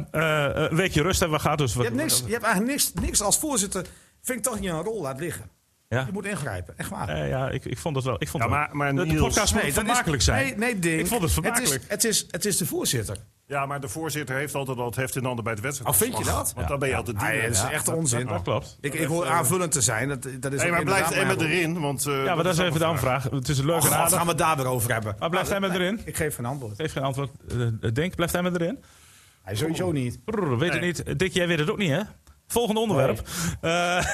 Speaker 1: een weekje rust hebben we gehad. Dus
Speaker 2: Je hebt, niks, je hebt eigenlijk niks, niks als voorzitter. Vind ik toch niet een rol laat liggen.
Speaker 1: Ja,
Speaker 2: Je moet ingrijpen, echt waar.
Speaker 1: Eh, ja ik, ik vond het wel. Ik vond
Speaker 4: Ja,
Speaker 1: het wel.
Speaker 4: maar- maar
Speaker 1: de, de
Speaker 4: Niels-
Speaker 1: podcast moet
Speaker 2: dat is-
Speaker 1: vermakelijk zijn.
Speaker 2: Nee, nee ding.
Speaker 1: Ik vond het vermakelijk.
Speaker 2: is, het, is, het is de voorzitter.
Speaker 4: Ja, maar de voorzitter heeft altijd al het heft in de handen bij het wedstrijd.
Speaker 2: Oh, vind je dat?
Speaker 4: Want dan ben je altijd
Speaker 2: Nee,
Speaker 4: dienaar.
Speaker 2: dat is echt onzin.
Speaker 1: dat eh, klopt.
Speaker 2: Ik, ik hoor aanvullend te zijn. Dat, dat is
Speaker 4: Nee,
Speaker 2: ook
Speaker 4: maar blijft
Speaker 2: inderdaad
Speaker 4: Emmen
Speaker 2: mijn rol.
Speaker 4: erin? Want, eh,
Speaker 1: Ja, maar dat is even de
Speaker 4: ook een
Speaker 1: aanvraag. Het is leuk en
Speaker 2: Och, wat
Speaker 1: aardig.
Speaker 2: gaan we het daar weer over hebben?
Speaker 1: Maar blijft Emmen erin?
Speaker 2: Ik geef een antwoord.
Speaker 1: Heeft geen antwoord. Eh, Denk, blijft Emmen erin?
Speaker 2: Hij sowieso niet.
Speaker 1: Brrr, weet
Speaker 4: Nee.
Speaker 1: het niet. Dick, jij weet het ook niet, hè? Volgende onderwerp. Eh,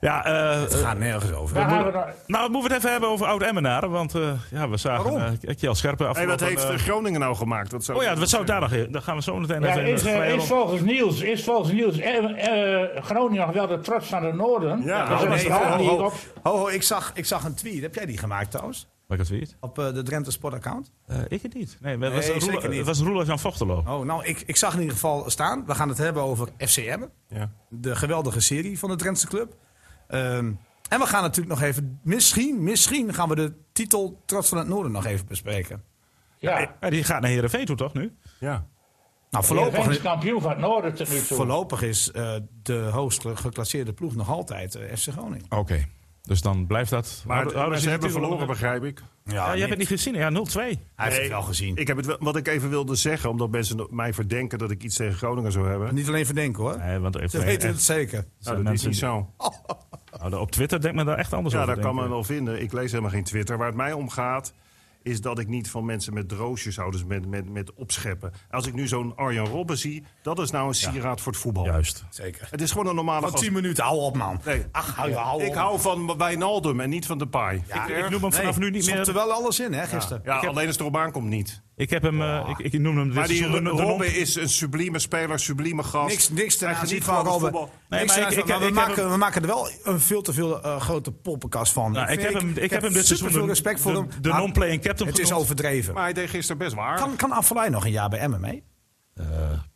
Speaker 1: ja, eh,
Speaker 2: Het gaat nergens over.
Speaker 5: Daar gaan we dan-
Speaker 1: nou, moeten we het even hebben over oud-Emmenaren. Want eh, ja, we zagen
Speaker 2: Waarom?
Speaker 1: eh Kjell Scherpen
Speaker 4: Hey,
Speaker 1: afgelopen...
Speaker 4: wat heeft
Speaker 1: eh,
Speaker 4: eh, Groningen nou gemaakt? Dat zou
Speaker 1: oh ja, wat zou ik daar nog... Daar gaan we zo meteen
Speaker 5: Ja,
Speaker 1: even...
Speaker 5: is, eh,
Speaker 1: vrij
Speaker 5: is
Speaker 1: rond-
Speaker 5: volgens Niels, is volgens Niels eh, eh, Groningen nog wel de trots van de Noorden?
Speaker 4: Ja,
Speaker 5: dat is
Speaker 4: oh,
Speaker 5: een
Speaker 2: nou, Nee,
Speaker 5: verhaal
Speaker 2: ho,
Speaker 5: die ik
Speaker 2: ho,
Speaker 5: op.
Speaker 2: ho, ho, ik, zag, ik zag een tweet. Heb jij die gemaakt trouwens?
Speaker 1: Waar ik het weet?
Speaker 2: Op eh, de Drenthe Sport account.
Speaker 1: Eh, ik het niet. Nee, maar het
Speaker 2: Nee,
Speaker 1: was,
Speaker 2: zeker
Speaker 1: Roelof- het
Speaker 2: niet.
Speaker 1: was Roelof aan Vochtelo.
Speaker 2: Oh, nou, ik, ik zag in ieder geval staan. We gaan het hebben over FCM.
Speaker 4: Ja.
Speaker 2: De geweldige serie van de Drentse club. Ehm, en we gaan natuurlijk nog even... Misschien, misschien gaan we de titel Trots van het Noorden nog even bespreken.
Speaker 5: Ja,
Speaker 1: Ja, die gaat naar Heerenveen toe toch nu?
Speaker 4: ja.
Speaker 2: Nou,
Speaker 5: Heerenveen is
Speaker 2: voorlopig,
Speaker 5: kampioen van het Noorden tot nu toe.
Speaker 2: voorlopig is eh, de hoogst geclasseerde ploeg nog altijd eh, FC Groningen.
Speaker 1: Oké. Dus dan blijft dat.
Speaker 4: Maar,
Speaker 1: houden- houden
Speaker 4: maar ze
Speaker 1: die
Speaker 4: hebben
Speaker 1: titel
Speaker 4: verloren,
Speaker 1: onder-
Speaker 4: begrijp ik.
Speaker 1: Ja, jij hebt het niet gezien. Ja, 0-2.
Speaker 2: Hij heeft het
Speaker 4: Nee.
Speaker 2: wel gezien.
Speaker 4: ik heb het wel, wat ik even wilde zeggen, omdat mensen mij verdenken dat ik iets tegen Groningen zou hebben.
Speaker 2: Niet alleen verdenken hoor.
Speaker 1: Nee, want
Speaker 2: Ze
Speaker 1: even,
Speaker 2: weten het zeker.
Speaker 4: Nou, dat is niet zo.
Speaker 1: op Twitter denkt men daar echt anders
Speaker 4: Ja,
Speaker 1: over.
Speaker 4: dat kan
Speaker 1: denk
Speaker 4: men
Speaker 1: ik.
Speaker 4: wel vinden. Ik lees helemaal geen Twitter. Waar het mij om gaat, is dat ik niet van mensen met droosjes hou, dus met, met, met opscheppen. Als ik nu zo'n Arjan Robben zie, dat is nou een sieraad voor het voetbal.
Speaker 1: Juist.
Speaker 2: Zeker.
Speaker 4: Het is gewoon een normale
Speaker 2: Van
Speaker 4: gast.
Speaker 2: 10 minuten, hou op man.
Speaker 4: Nee.
Speaker 2: Ach, hou, je- hou
Speaker 4: Ik
Speaker 2: op.
Speaker 4: hou van Wijnaldum en niet van Depay.
Speaker 2: Ja,
Speaker 1: Ik noem hem vanaf nu niet
Speaker 2: stond er
Speaker 1: meer.
Speaker 2: wel alles in hè, gisteren.
Speaker 4: Ja, alleen als het erop aankomt niet.
Speaker 1: Ik heb hem. eh, ik, ik noem hem. dit
Speaker 4: Maar die
Speaker 1: seizoen de- de non-
Speaker 4: Robben is een sublieme speler, sublieme gast.
Speaker 2: Niks, niks ten
Speaker 4: Hij
Speaker 2: aanzien
Speaker 4: geniet
Speaker 2: van
Speaker 4: gewoon
Speaker 2: Robben.
Speaker 4: voetbal.
Speaker 1: Nee,
Speaker 2: Niks
Speaker 1: maar
Speaker 2: ten
Speaker 1: ik- ik-
Speaker 4: Nou,
Speaker 2: aanzien-
Speaker 1: ik- ik heb
Speaker 2: Nou, we, maken,
Speaker 1: hem-
Speaker 2: we maken er wel een veel te veel eh, grote poppenkast van.
Speaker 1: Nou, ik,
Speaker 2: vind-
Speaker 1: heb hem, ik, heb hem dit seizoen
Speaker 2: super veel
Speaker 1: de-
Speaker 2: respect voor
Speaker 1: de,
Speaker 2: hem.
Speaker 1: De
Speaker 2: maar
Speaker 1: non-playing captain
Speaker 2: Het is
Speaker 1: genoemd.
Speaker 2: overdreven.
Speaker 4: Maar hij deed gisteren best waar.
Speaker 2: kan kan Affelay nog een jaar bij Emmen mee?
Speaker 1: Eh,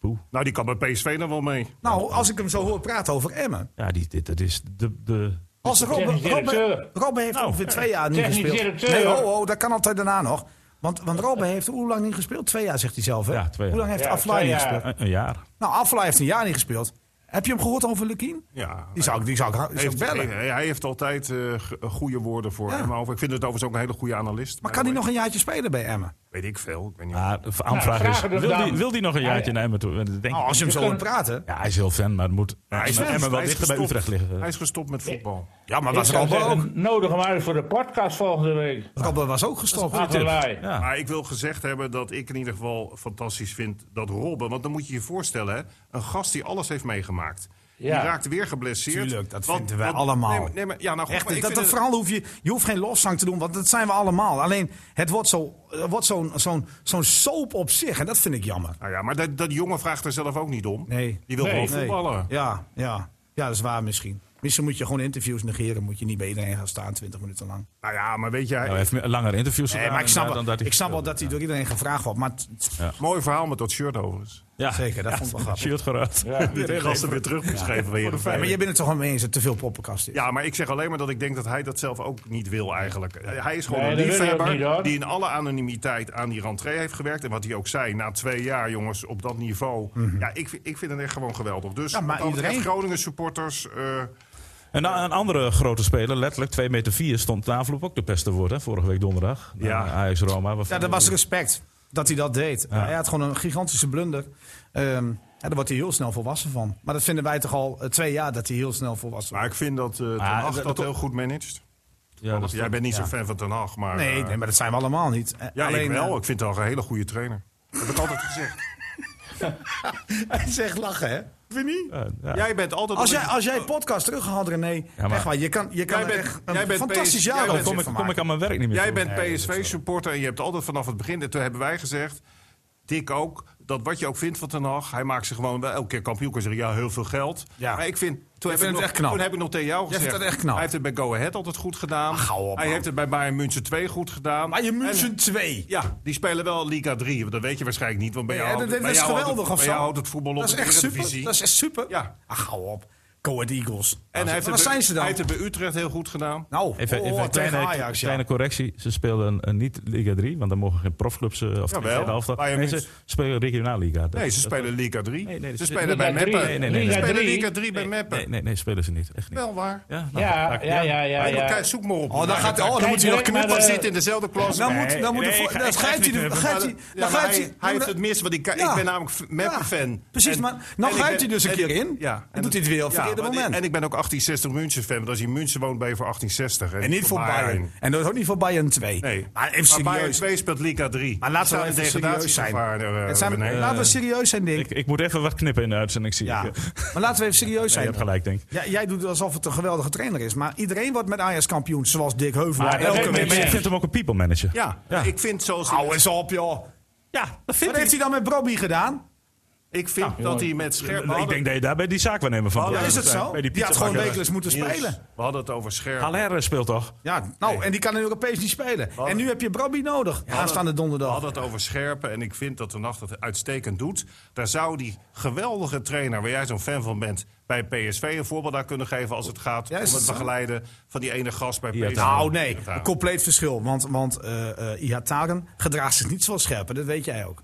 Speaker 1: poeh.
Speaker 4: Nou, die kan bij PSV nog wel mee.
Speaker 2: Nou, als ik hem zo hoor praten over Emmen.
Speaker 1: Ja, die, dit, dat is de, de...
Speaker 2: Als Robben,
Speaker 5: technisch
Speaker 2: Robben,
Speaker 5: directeur.
Speaker 2: Robben heeft
Speaker 1: Nou,
Speaker 2: ongeveer twee jaar niet
Speaker 5: technisch
Speaker 2: gespeeld.
Speaker 5: directeur.
Speaker 2: Nee, ho, ho, dat kan altijd daarna nog. Want, want Robben heeft hoe lang niet gespeeld? Twee jaar, zegt hij zelf. Hè?
Speaker 1: Ja, twee jaar.
Speaker 2: Hoe lang heeft
Speaker 5: Ja,
Speaker 2: Affelay
Speaker 5: twee
Speaker 2: niet
Speaker 5: jaar.
Speaker 2: gespeeld?
Speaker 1: Een, een jaar.
Speaker 2: Nou, Affelay heeft een jaar niet gespeeld. Heb je hem gehoord over Lukien?
Speaker 4: Ja.
Speaker 2: Die zou ik, die zou ik, die zou ik
Speaker 4: Heeft,
Speaker 2: bellen.
Speaker 4: hij, hij heeft altijd eh, ge- goede woorden voor
Speaker 2: Ja.
Speaker 4: hem over. Ik vind het overigens ook een hele goede analist.
Speaker 2: Maar
Speaker 1: eh,
Speaker 2: kan hij nog een jaartje spelen bij Emmen?
Speaker 4: Weet ik veel. Ik weet
Speaker 2: Ah,
Speaker 1: Maar
Speaker 4: niet
Speaker 1: de aanvraag
Speaker 5: vragen
Speaker 1: is,
Speaker 5: dus
Speaker 1: wil
Speaker 5: dan.
Speaker 1: die, wil die nog een
Speaker 5: Ja,
Speaker 1: jaartje
Speaker 5: ja.
Speaker 1: naar Emmen toe? Dat Denk,
Speaker 2: Nou,
Speaker 1: ik.
Speaker 2: als je hem zo
Speaker 5: Je
Speaker 2: hoort
Speaker 5: kan-
Speaker 2: praten.
Speaker 1: Ja, hij is heel fan, maar het moet
Speaker 4: hij is fan.
Speaker 1: Emmen wel
Speaker 4: Hij is
Speaker 1: dichter bij
Speaker 4: gestopt.
Speaker 1: Utrecht liggen.
Speaker 4: Hij is gestopt met voetbal.
Speaker 2: Ja, maar
Speaker 5: Ik
Speaker 2: was
Speaker 5: zou
Speaker 2: Robben ook.
Speaker 5: zeggen, Nodig hem uit voor de podcast volgende week.
Speaker 2: Robben was ook gestopt.
Speaker 5: Affelay.
Speaker 1: Ja. Nou,
Speaker 4: Maar ik wil gezegd hebben dat ik in ieder geval fantastisch vind dat Robben... want dan moet je je voorstellen, hè, een gast die alles heeft meegemaakt...
Speaker 5: Ja.
Speaker 4: Die raakt weer geblesseerd.
Speaker 2: Tuurlijk, dat vinden wij allemaal.
Speaker 4: Nee, maar- nee, maar, ja, nou goed,
Speaker 2: Echt,
Speaker 4: maar ik
Speaker 2: dat, dat
Speaker 4: vind het-
Speaker 2: verhaal hoef je, je hoeft geen lofzang te doen, want dat zijn we allemaal. Alleen, het wordt zo'n zo, wordt zo'n zo'n zo'n soap op zich en dat vind ik jammer.
Speaker 4: Nou ja, maar dat, dat jongen vraagt er zelf ook niet om.
Speaker 2: Nee.
Speaker 4: Die wil
Speaker 5: Nee.
Speaker 4: gewoon
Speaker 2: Nee.
Speaker 4: voetballen.
Speaker 2: Ja, ja. ja, dat is waar misschien. Misschien moet je gewoon interviews negeren, moet je niet bij iedereen gaan staan 20 minuten lang.
Speaker 4: Nou ja, maar weet jij,
Speaker 1: Hij heeft meer- langer interviews
Speaker 2: Nee,
Speaker 1: gedaan
Speaker 2: maar ik snap,
Speaker 1: inderdaad,
Speaker 2: wel-
Speaker 1: dan dat hij
Speaker 2: ik snap wel dat
Speaker 1: gespeeld
Speaker 2: hij door iedereen gevraagd wordt, maar het-
Speaker 4: mooi verhaal met dat shirt overigens.
Speaker 1: heeft. Ja,
Speaker 2: zeker, dat vond ik wel grappig.
Speaker 1: Shield geruit.
Speaker 5: Ja.
Speaker 4: Dat die gasten weer terug moest geven. bij Heerenveen.
Speaker 2: Ja, maar jij bent het toch wel mee eens dat te veel poppenkast is?
Speaker 4: Ja, maar ik zeg alleen maar dat ik denk dat hij dat zelf ook niet wil eigenlijk. Eh, Hij is gewoon
Speaker 5: Nee,
Speaker 4: een
Speaker 5: dat wil hij ook
Speaker 4: liefhebber
Speaker 5: niet, hoor.
Speaker 4: die in alle anonimiteit aan die rentree heeft gewerkt. En wat hij ook zei, na twee jaar jongens, op dat niveau. Ja, ik, vind- ik vind het echt gewoon geweldig. Dus
Speaker 2: Ja, maar
Speaker 4: wat dat betreft,
Speaker 2: iedereen-
Speaker 4: Groningen supporters... eh,
Speaker 1: En dan een andere grote speler, letterlijk 2 meter 4, stond na afloop ook de pest te worden. hè, Vorige week donderdag. Na
Speaker 4: Ja.
Speaker 1: Ajax Roma. waarvan-
Speaker 2: Ja, dat was respect dat hij dat deed. Hij had gewoon een gigantische blunder. Ehm ja, daar wordt hij heel snel volwassen van. Maar dat vinden wij toch al eh, twee jaar dat hij heel snel volwassen
Speaker 4: maar ik vind dat eh Ten
Speaker 1: Ah,
Speaker 4: Hag
Speaker 1: dat-
Speaker 4: dat,
Speaker 1: dat-
Speaker 4: heel goed managt.
Speaker 1: Ja, dat-
Speaker 4: Jij bent niet zo'n fan van Ten Hag, maar...
Speaker 2: wordt. Nee,
Speaker 4: eh,
Speaker 2: nee, maar dat zijn we allemaal niet. Eh,
Speaker 4: Ja, ik
Speaker 2: alleen,
Speaker 4: wel.
Speaker 2: eh,
Speaker 4: Ik vind Ten Hag een hele goede trainer. Dat heb ik altijd gezegd.
Speaker 2: hij zegt lachen, hè?
Speaker 4: Vind je niet?
Speaker 1: Ja, ja.
Speaker 4: Jij bent altijd...
Speaker 2: Als jij, als jij podcast teruggehaald, René,
Speaker 1: Ja, maar-
Speaker 2: echt waar, je kan, je kan
Speaker 4: Jij
Speaker 2: er
Speaker 4: bent-
Speaker 2: echt een
Speaker 4: jij bent
Speaker 2: fantastisch
Speaker 4: PS-
Speaker 2: jaar
Speaker 4: jij
Speaker 2: over
Speaker 4: bent-
Speaker 1: Oh, Kom ik,
Speaker 2: zitten
Speaker 1: kom ik
Speaker 2: maken.
Speaker 1: aan mijn werk niet meer
Speaker 4: Jij
Speaker 1: toe.
Speaker 4: bent PSV-supporter en je hebt altijd vanaf het begin, en toen hebben wij gezegd, Dick ook, dat wat je ook vindt van Ten Hag, hij maakt ze gewoon wel elke keer kampioen. Kan zeggen, ja, heel veel geld.
Speaker 2: Ja.
Speaker 4: Maar ik vind, toen, heb
Speaker 2: vindt
Speaker 4: ik
Speaker 2: het
Speaker 4: nog,
Speaker 2: echt knap.
Speaker 4: toen heb ik nog tegen jou
Speaker 2: vindt
Speaker 4: gezegd,
Speaker 2: het echt knap.
Speaker 4: hij heeft het bij Go Ahead altijd goed gedaan.
Speaker 2: Ach, hou op,
Speaker 4: hij
Speaker 2: man.
Speaker 4: heeft het bij Bayern München 2 goed gedaan.
Speaker 2: Maar je
Speaker 4: En-
Speaker 2: München 2.
Speaker 4: ja, die spelen wel Liga 3, want dat weet je waarschijnlijk niet. Want bij
Speaker 2: Ja,
Speaker 4: jou,
Speaker 2: dat,
Speaker 4: houdt-
Speaker 2: dat
Speaker 4: bij
Speaker 2: is
Speaker 4: jou houdt
Speaker 2: geweldig
Speaker 4: het,
Speaker 2: of
Speaker 4: bij
Speaker 2: zo.
Speaker 4: jou houdt het voetbal op
Speaker 2: dat is
Speaker 4: de
Speaker 2: echt super.
Speaker 4: Eredivisie.
Speaker 2: Dat is echt super.
Speaker 4: Ja.
Speaker 2: Ach, hou op. Go Ahead Eagles.
Speaker 4: En hij heeft,
Speaker 2: waar
Speaker 4: het bij,
Speaker 2: zijn ze dan?
Speaker 4: hij heeft het bij Utrecht heel goed gedaan.
Speaker 2: nou,
Speaker 1: Even,
Speaker 2: oh,
Speaker 1: even
Speaker 2: oh,
Speaker 1: een
Speaker 2: tegen
Speaker 1: kleine,
Speaker 2: Ajax, ja.
Speaker 1: kleine correctie. Ze speelden eh, niet Liga 3, want dan mogen geen profclubs eh, of
Speaker 4: Jawel,
Speaker 1: tweede helft.
Speaker 4: Bayern
Speaker 1: Nee, ze
Speaker 4: München.
Speaker 1: spelen regionaal Liga. Dat-
Speaker 4: Nee, ze
Speaker 1: dat-
Speaker 4: spelen Liga 3.
Speaker 1: Nee, nee,
Speaker 4: ze
Speaker 1: dat-
Speaker 4: spelen
Speaker 5: Liga
Speaker 4: bij
Speaker 5: 3.
Speaker 4: Meppen.
Speaker 1: Nee, nee, nee.
Speaker 4: Ze
Speaker 5: Liga
Speaker 4: spelen
Speaker 5: 3.
Speaker 4: Liga 3 bij Meppen.
Speaker 1: Nee, nee, nee, spelen ze niet. Echt niet.
Speaker 4: Wel waar.
Speaker 1: Ja, nou,
Speaker 5: Ja,
Speaker 1: daar-
Speaker 5: ja, ja, ja.
Speaker 4: Hey, maar
Speaker 5: ja.
Speaker 4: kijk, zoek maar op.
Speaker 2: Oh, dan
Speaker 4: Maar
Speaker 2: gaat-
Speaker 4: kijk,
Speaker 2: oh, dan
Speaker 4: kijk,
Speaker 2: moet hij nog
Speaker 4: kijk,
Speaker 5: knippen.
Speaker 4: maar zit in dezelfde klas.
Speaker 2: Dan
Speaker 4: Maar-
Speaker 2: moet, dan moet de
Speaker 1: nee,
Speaker 2: voor-
Speaker 1: ik ga-
Speaker 2: dan
Speaker 1: ik ga
Speaker 2: gaat
Speaker 1: het
Speaker 2: hij,
Speaker 1: niet
Speaker 2: de-
Speaker 1: doen.
Speaker 2: gaat
Speaker 4: maar-
Speaker 2: hij,
Speaker 4: ja,
Speaker 2: dan
Speaker 4: maar
Speaker 2: gaat
Speaker 4: hij,
Speaker 2: hij.
Speaker 4: hij heeft
Speaker 2: dan-
Speaker 4: het mis, want ik, ik
Speaker 2: Ja.
Speaker 4: ben namelijk Meppen-fan.
Speaker 2: Ja, precies,
Speaker 4: En-
Speaker 2: maar nou
Speaker 4: en
Speaker 2: gaat
Speaker 4: ik ben-
Speaker 2: hij dus een
Speaker 4: en
Speaker 2: keer
Speaker 4: ik-
Speaker 2: in. Dan doet hij het weer op het verkeerde
Speaker 4: maar ik-
Speaker 2: moment.
Speaker 4: En ik ben ook 1860 München fan. Want als je in München woont, ben je voor 1860.
Speaker 2: En niet voor Bayern. En dat is ook niet voor Bayern 2.
Speaker 4: Nee.
Speaker 2: Maar even
Speaker 4: Bayern
Speaker 2: serieus.
Speaker 4: 2 speelt Liga 3.
Speaker 2: Maar laten we
Speaker 4: Staan in
Speaker 2: even serieus zijn.
Speaker 4: degradatiegevaar, eh,
Speaker 2: Het zijn-
Speaker 4: René.
Speaker 2: Laten we serieus zijn, Dink.
Speaker 1: Ik, ik moet even wat knippen in de uitzending, zie
Speaker 2: Ja.
Speaker 1: ik. Nee,
Speaker 2: Maar laten we even serieus
Speaker 1: je
Speaker 2: zijn.
Speaker 1: hebt gelijk, denk ik.
Speaker 2: Ja, jij doet alsof het een geweldige trainer is. Maar iedereen wordt met Ajax kampioen, zoals Dick Heuvelaar.
Speaker 1: Maar,
Speaker 5: dat
Speaker 2: elke
Speaker 5: weet
Speaker 1: maar
Speaker 2: week.
Speaker 5: ik
Speaker 1: je
Speaker 5: niet.
Speaker 1: vindt hem ook een people manager.
Speaker 4: Ja, ik vind zoals...
Speaker 2: Hou eens op, joh.
Speaker 1: ja dat
Speaker 2: Wat heeft hij dan met Bobby gedaan?
Speaker 4: Ik vind dat hij met scherp...
Speaker 1: Ik denk dat je daar bij die zaakwaarnemer van
Speaker 4: Oh,
Speaker 1: bent.
Speaker 4: dat
Speaker 2: is het
Speaker 4: zijn-
Speaker 2: zo?
Speaker 1: bij die
Speaker 2: Die had gewoon
Speaker 1: pizzabakker.
Speaker 2: wekelijks moeten spelen.
Speaker 4: we hadden het over scherp.
Speaker 1: Haller speelt toch?
Speaker 2: Ja, nou, en die kan in Europees niet spelen. En nu heb je Brobby nodig. Aanstaande
Speaker 4: We
Speaker 2: donderdag.
Speaker 4: hadden het over scherpen en ik vind dat de nacht het uitstekend doet. Daar zou die geweldige trainer, waar jij zo'n fan van bent, bij PSV een voorbeeld aan kunnen geven als het gaat
Speaker 2: Ja, is
Speaker 4: om
Speaker 2: het
Speaker 4: het
Speaker 2: zo?
Speaker 4: begeleiden van die ene gast bij
Speaker 1: Ja,
Speaker 4: PSV.
Speaker 2: Nou, nee.
Speaker 4: Ja.
Speaker 2: Een compleet verschil. Want, want eh eh Ihataren gedraagt zich niet zoals Scherpen. Dat weet jij ook.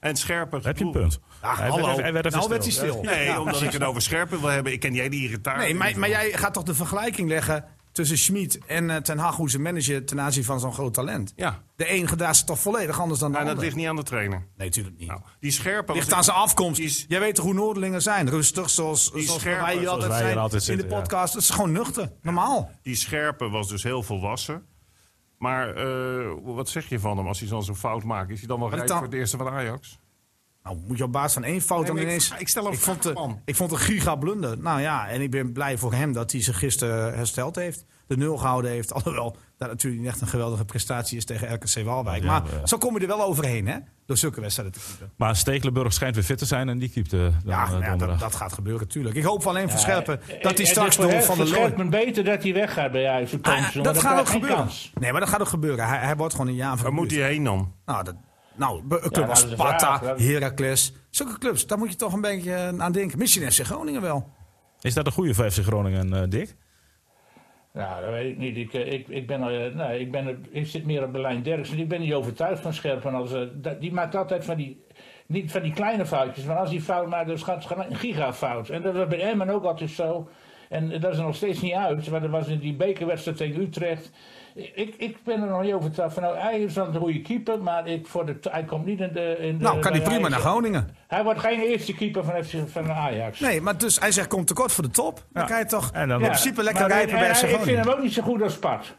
Speaker 4: En scherper.
Speaker 1: Heb je een
Speaker 4: bedoel-
Speaker 1: punt?
Speaker 2: Ja,
Speaker 1: hij
Speaker 2: hallo.
Speaker 1: Werd, even- hij werd even
Speaker 2: nou werd hij
Speaker 1: stil.
Speaker 2: stil.
Speaker 4: Nee,
Speaker 2: Ja.
Speaker 4: omdat ik het over scherpen wil hebben. Ik ken jij die irritatie.
Speaker 2: Nee, maar, maar jij gaat toch de vergelijking leggen tussen Schmid en eh, Ten Hag, hoe ze managen ten aanzien van zo'n groot talent.
Speaker 4: Ja.
Speaker 2: De een gedraagt zich toch volledig anders dan de
Speaker 4: En dat
Speaker 2: ander?
Speaker 4: ligt niet aan de trainer.
Speaker 2: Nee, natuurlijk niet.
Speaker 4: Nou, die scherpen.
Speaker 2: ligt aan zijn afkomst.
Speaker 4: Die is-
Speaker 2: Jij weet toch hoe Noordelingen zijn? Rustig, zoals, zoals
Speaker 4: scherp,
Speaker 2: wij hier
Speaker 4: zoals
Speaker 2: altijd
Speaker 1: wij hier
Speaker 2: zijn
Speaker 1: altijd
Speaker 2: in de
Speaker 1: zitten, ja.
Speaker 2: podcast. Het is gewoon nuchter, normaal.
Speaker 4: Die scherpe was dus heel volwassen. Maar eh, wat zeg je van hem als hij dan zo'n fout maakt? Is hij dan wel
Speaker 2: Maar
Speaker 4: rijk
Speaker 2: dan-
Speaker 4: voor het eerste van Ajax?
Speaker 2: Nou, moet je op basis van één fout
Speaker 4: Nee,
Speaker 2: dan
Speaker 4: maar ik-
Speaker 2: ineens...
Speaker 4: ik stel een
Speaker 2: ik vond,
Speaker 4: vraag,
Speaker 2: de-
Speaker 4: man.
Speaker 2: ik vond een giga blunder. Nou ja, en ik ben blij voor hem dat hij zich gisteren hersteld heeft. De nul gehouden heeft. Alhoewel dat natuurlijk niet echt een geweldige prestatie is tegen RKC Waalwijk.
Speaker 1: Ja,
Speaker 2: maar
Speaker 1: ja.
Speaker 2: zo kom je er wel overheen, hè? Door zulke wedstrijden te keepen.
Speaker 1: Maar Stekelenburg schijnt weer fit te zijn en die keept eh, dan,
Speaker 2: Ja,
Speaker 1: eh,
Speaker 2: nou ja,
Speaker 1: donderdag.
Speaker 2: dat, dat gaat gebeuren, natuurlijk. Ik hoop alleen voor Scherpen dat hij
Speaker 5: Eh, Het
Speaker 2: straks
Speaker 5: is voor
Speaker 2: door
Speaker 5: hem-
Speaker 2: Van der
Speaker 5: voor
Speaker 2: Looy...
Speaker 5: Scherpen beter dat hij weggaat bij Ajax. op
Speaker 2: Ah,
Speaker 5: komende
Speaker 2: dat
Speaker 5: zomer.
Speaker 2: gaat ook
Speaker 5: krijgt geen
Speaker 2: gebeuren.
Speaker 5: kans.
Speaker 2: Nee, maar dat gaat ook gebeuren. Hij, hij wordt gewoon een jaar
Speaker 4: Waar
Speaker 2: van
Speaker 4: moet hij heen dan?
Speaker 2: Nou, dat, nou be- een club
Speaker 5: nou,
Speaker 2: als
Speaker 5: dat is een
Speaker 2: Sparta,
Speaker 5: vraag.
Speaker 2: Heracles. Zulke clubs, daar moet je toch een beetje eh, aan denken. Misschien FC Groningen wel.
Speaker 1: Is dat een goede voor FC Groningen, eh, Dick?
Speaker 5: Nou, dat weet ik niet. Ik, eh, ik, ik, ben, eh, nee, ik, ben, er- ik zit meer op Berlijn Derksen. Ik ben niet overtuigd van Scherpen. Als, eh, dat, die maakt altijd van die, niet van die kleine foutjes. Maar als die fout maakt, dan is het gewoon een gigafout. En dat was bij Emmen ook altijd zo. En eh, dat is er nog steeds niet uit. Maar dat was in die bekerwedstrijd tegen Utrecht. Ik, ik ben er nog niet overtuigd van. Nou, hij is dan een goede keeper. Maar ik, voor de, hij komt niet in de... In de
Speaker 2: Nou, kan
Speaker 5: bij
Speaker 2: hij prima
Speaker 5: Ajax.
Speaker 2: naar Groningen.
Speaker 5: Hij wordt geen eerste keeper van, FC van Ajax.
Speaker 2: Nee, maar dus hij zegt, komt tekort voor de top. Dan
Speaker 1: Ja.
Speaker 2: kan je toch
Speaker 1: En dan-
Speaker 2: in
Speaker 1: Ja,
Speaker 2: principe lekker
Speaker 5: Maar
Speaker 2: rijpen
Speaker 5: hij-
Speaker 2: bij FC
Speaker 5: hij- Ik vind
Speaker 2: Groningen.
Speaker 5: hem ook Nou, niet zo goed als Pat.